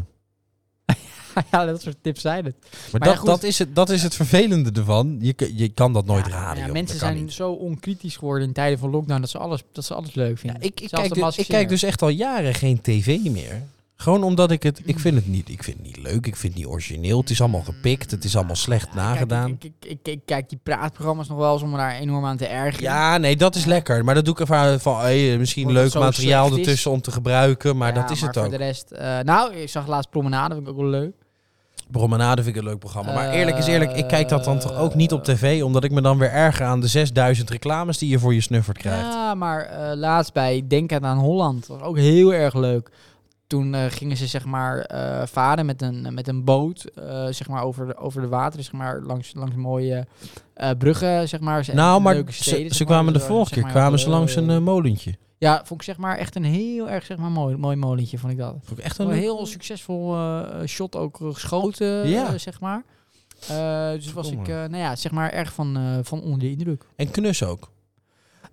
eh.
ja, dat soort tips zijn het.
Maar,
Maar ja,
dat,
goed.
dat, is het, dat is het vervelende ervan. Je, k- je kan dat nooit
Ja,
raden.
ja,
joh.
mensen
Dat kan
zijn
niet.
zo onkritisch geworden in tijden van lockdown dat ze alles, dat ze alles leuk vinden.
ik, ik,
Zelfs
kijk,
de
dus, ik
Masked Singer.
kijk dus echt al jaren geen tv meer. Gewoon omdat ik het...
Hmm.
Ik vind het niet, ik vind het niet leuk. Ik vind het niet origineel. Het is allemaal gepikt. Het is allemaal slecht
Ja, kijk,
nagedaan.
Ik, ik, ik, ik kijk die praatprogramma's nog wel eens om me daar enorm aan te ergeren.
Ja, nee, dat is lekker. Maar dat doe ik ervan van... hey, misschien
Omdat het
leuk
zo
materiaal
slecht is.
ertussen om te gebruiken. Maar
Ja,
dat is het
voor
ook.
de rest... eh, nou, ik zag laatst Promenade, vind ik ook wel leuk.
Promenade vind ik een leuk programma. Maar eerlijk is eerlijk, ik kijk dat dan toch ook
Eh,
niet op tv. Omdat ik me dan weer erger aan de 6000 reclames die je voor je snuffert krijgt.
Ja, maar eh, laatst bij Denken aan Holland. Dat was ook heel erg leuk. Toen eh, gingen ze zeg maar eh, varen met een, met een boot eh, zeg maar over, de, over de water. Zeg maar langs, langs mooie eh, bruggen zeg maar.
nou,
En
maar
leuke
ze,
steden,
ze
zeg maar.
kwamen de
Dus dat was,
vorige
zeg
keer
maar, Oh.
kwamen
heel
ze langs een
leuk.
eh, molentje.
Ja, vond ik zeg maar echt een heel erg zeg maar, mooi, mooi molentje vond ik dat.
Vond ik echt een
Een
leuk-
Oh, heel succesvol eh, shot ook eh, geschoten
Ja.
eh, zeg maar. Eh, dus was ik
Verdomme.
eh, nou ja, zeg maar erg van, eh, van onder de indruk.
En knus ook.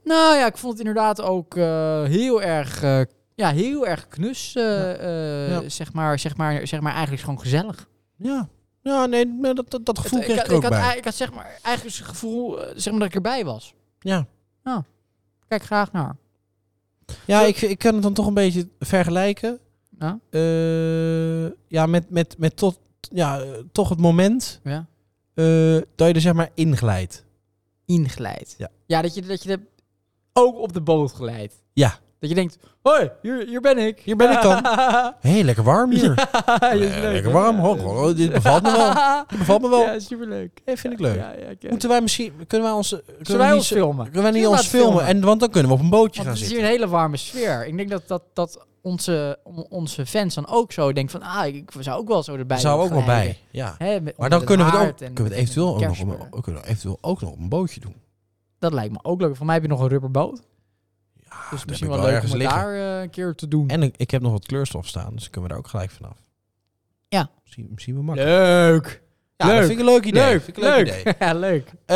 Nou ja, ik vond het inderdaad ook eh, heel erg, eh, ja, heel erg knus, eh, eh,
Ja.
zeg maar, zeg maar, zeg maar, eigenlijk gewoon gezellig.
Ja, ja nee, maar dat, dat, dat gevoel
Het-
kreeg
ik,
ik
had- ik
ook
had,
bij.
ei- ik had zeg maar eigenlijk het gevoel, eh, zeg maar dat ik erbij was.
Ja,
Kijk graag naar.
ja ik, ik kan het dan toch een beetje vergelijken.
Ja?
Eh, ja, met, met, met tot, ja, eh, toch het moment
Ja.
eh, dat je er zeg maar inglijdt.
Ingeleid.
Ja.
dat je dat je de- ook op de boot geleid.
Ja.
Dat je denkt, hoi, hier, hier ben ik.
Hier ben ik dan. Hé, hey, lekker warm hier.
Ja, is
Eh,
leuk,
lekker
hè?
warm.
Ja,
hoor.
is-
Oh, dit bevalt me wel. Dit bevalt me wel.
Ja, superleuk.
Eh, vind ik leuk.
Ja, ja, ik-
Moeten wij misschien... Kunnen wij ons... Kunnen
Zullen wij
niet
ons
zo-
filmen?
Kunnen wij niet
Zullen we
ons
laten
filmen? En, want dan kunnen we op een bootje
Want
gaan
het is
zitten.
hier een hele warme sfeer. Ik denk dat, dat, dat onze, on- onze fans dan ook zo denken van... Ah, ik zou ook wel zo erbij
Daar zouden we ook
willen
wel bij.
glijden.
Ja.
Hè, met-
Maar
onder
dan
de
kunnen we, het ook,
haard en
kunnen we
met-
het eventueel ook
met
nog, op,
kerstberen.
een- kunnen we eventueel ook nog op een bootje doen.
Dat lijkt me ook leuk. Voor mij heb je nog een rubberboot.
Ja,
Dus
dan
misschien
heb
wel,
ik
leuk om het daar eh, een keer te doen.
En ik, ik heb nog wat kleurstof staan, dus kunnen we daar ook gelijk vanaf.
Ja.
Misschien, misschien wel makkelijk.
leuk!
Ja, dat vind ik een leuk idee. Vind ik een leuk idee.
ja, leuk.
Eh,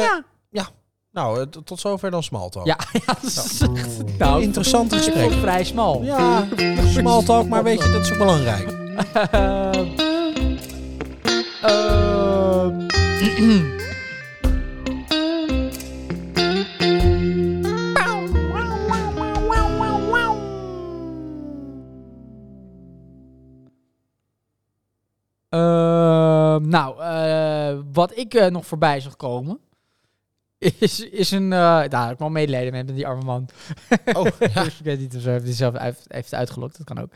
Ja.
ja. Nou, eh, t- tot zover dan Smalltalk.
Ja, ja, dat is echt- nou, ik
Interessant
vond
gesprek.
het vrij smal.
Ja, Smalltalk, maar weet je, dat is ook belangrijk.
Ehm. Ehm. Ehm, nou, eh, wat ik eh, nog voorbij zag komen, is, is een... eh nou, ik heb wel medelijden met met die arme man.
Oh, ja.
ik weet niet of ze heeft die zelf heeft, heeft uitgelokt, dat kan ook.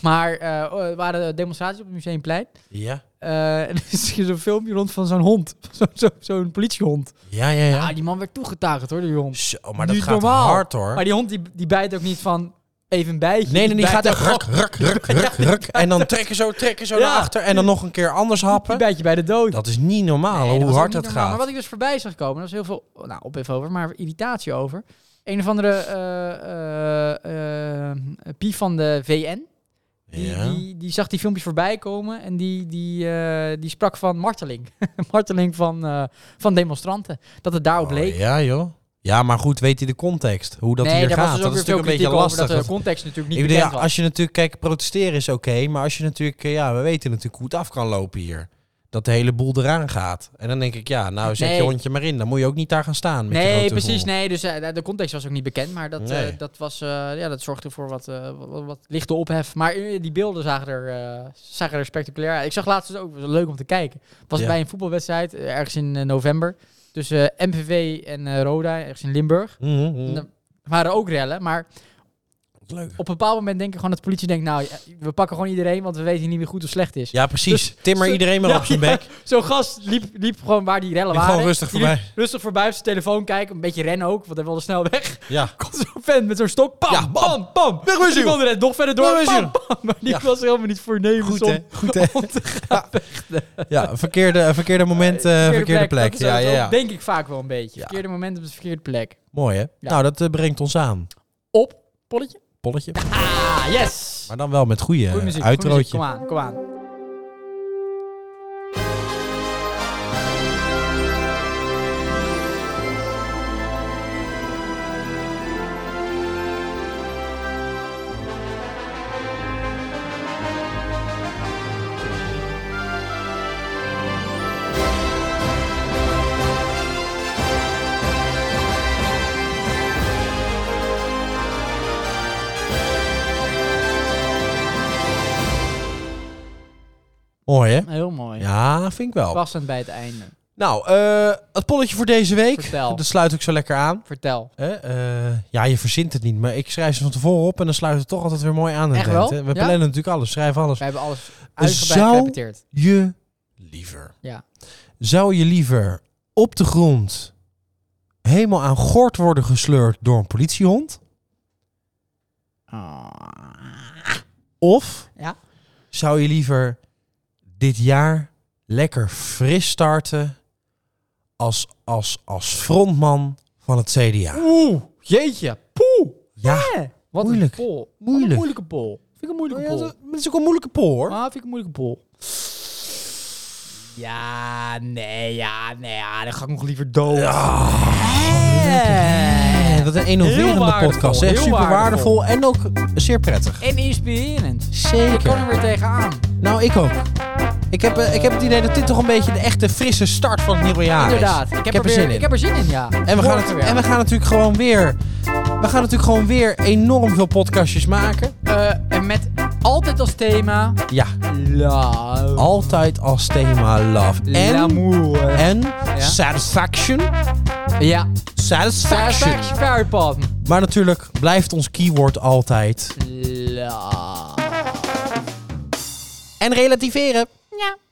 Maar eh, oh, er waren demonstraties op het Museumplein.
Ja,
Eh, en er is hier zo'n filmpje rond van zo'n hond. Zo- zo- Zo'n politiehond.
ja, ja. ja.
Ah, die man werd toegetuigd hoor, die hond.
Zo, maar dat
Niet
gaat
normaal.
hard hoor.
Maar die hond die, die bijt ook niet van even een bijtje.
Nee, nee, die
bijt
gaat echt
ook
ruk, ruk, ruk, ruk, ruk. En dan trekken zo, trekken zo
Ja.
naar achter. En dan nog een keer anders
Die
happen.
bijt je bij de dood.
Dat is niet normaal
Nee, dat
hoe
was
hard
ook
dat
niet normaal.
gaat.
Maar wat ik dus voorbij zag komen, er was heel veel nou, ophef over, maar irritatie over. Een of andere eh, eh, eh, Pief van de VN, die,
Ja.
die, die zag die filmpjes voorbij komen en die, die, eh, die sprak van marteling. marteling van, eh, van demonstranten. Dat het daarop
Oh,
leek.
ja, joh. Ja, maar goed, weet hij de context? Hoe dat
nee,
hier
daar was
gaat?
dus ook
Dat is
weer veel
natuurlijk een
kritiek
beetje
over
lastig.
dat de
Dat-
context natuurlijk
Ik
niet
bedoel, ja,
bekend was.
als je natuurlijk, kijk, protesteren is oké, maar als je natuurlijk, eh, ja, we weten natuurlijk hoe het af kan lopen hier. Dat de hele boel eraan gaat. En dan denk ik, ja, nou zet
Nee.
je hondje maar in. Dan moet je ook niet daar gaan staan. Met je
Nee,
grote
precies.
boel.
Nee, dus eh, de context was ook niet bekend. Maar dat, eh,
Nee.
dat, was, eh, ja, dat zorgde voor wat, eh, wat, wat- wat lichte ophef. Maar eh, die beelden zagen er, eh, zagen er spectaculair uit. Ik zag laatst dus ook, was leuk om te kijken. Was
Ja.
bij een voetbalwedstrijd, eh, ergens in eh, november. Tussen eh, MVV en eh, Roda, ergens in Limburg.
Mhm, mhm.
En Er waren ook rellen, maar
Leuk.
op een bepaald moment denken gewoon dat de politie denkt... Nou, ja, we pakken gewoon iedereen, want we weten niet wie goed of slecht is.
Ja, precies. Timmer
ze-
iedereen maar
Dus- Ja,
op zijn
ja.
bek.
Zo'n gast liep, liep gewoon waar die rellen
Liep
waren.
gewoon rustig
Die
voorbij.
liep Rustig voorbij op zijn telefoon kijken. Een beetje rennen ook, want hij wilde snel weg.
Ja.
Komt zo'n vent met zo'n stok. Pam,
Ja, bam.
pam, pam.
Weg met
En Dus die
je.
wilde net nog verder door.
Weg met
Pam,
je.
pam. Maar die
Ja.
was er helemaal niet voornemens
Goed,
om,
hè? Goed, hè?
om te gaan vechten.
Ja, verkeerde, verkeerde moment, eh, verkeerde, plek.
Dat is
Ja,
ook-
ja, ja.
Denk ik vaak wel een beetje.
Ja.
Verkeerde moment op de verkeerde plek.
Mooi, hè? Nou, dat eh, brengt ons aan.
Op, polletje.
Polletje.
Ah, yes.
Maar dan wel met goede
Goeie
eh,
muziek, goeie muziek.
uitrootje.
Kom aan, kom aan.
Mooi, hè?
Heel mooi.
Ja, vind ik wel.
Passend bij het einde.
Nou, eh, het polletje voor deze week.
Vertel.
Dat sluit ik zo lekker aan.
Vertel.
Hè, eh, ja, je verzint het niet, maar ik schrijf ze van tevoren op en dan sluit het toch altijd weer mooi aan. het
Echt
eind,
wel?
hè. We
Ja?
plannen natuurlijk alles, schrijf alles.
Wij hebben alles uitgebreid
zou-
gerepeteerd.
je liever?
Ja.
Zou je liever op de grond helemaal aan gort worden gesleurd door een politiehond? Of
Ja.
zou je liever dit jaar lekker fris starten als, als, als frontman van het CDA?
Oeh, jeetje. Poeh.
Ja,
Eh, Wat
Moeilijk.
een pol. Wat
Moeilijk.
een moeilijke pol. Vind ik een moeilijke
Oh Ja,
pol.
dat dat is ook een moeilijke pool hoor.
Maar vind ik een moeilijke pol. Ja, nee, ja, nee, ja, dan ga ik nog liever dood.
En
Eh.
Wat een innoverende
waardevol,
podcast. Hè?
heel
Super waardevol
waardevol.
en ook zeer prettig.
En inspirerend. Ik
Zeker.
kon er weer tegenaan.
Nou, ik ook. Ik heb, eh, ik heb het idee dat dit toch een beetje de echte frisse start van het nieuwe jaar is.
Inderdaad. Ik heb, er, weer,
zin in.
Ik heb er zin in, ja.
en, we gaan
Morgen
het,
weer.
en we gaan natuurlijk gewoon weer... We gaan natuurlijk gewoon weer enorm veel podcastjes maken.
Eh, en met altijd als thema...
Ja,
Love.
altijd als thema love. En,
L'amour.
en satisfaction.
Ja.
Satisfaction.
Satisfaction Fairpot.
Maar natuurlijk blijft ons keyword altijd...
Love.
En relativeren.
Ja.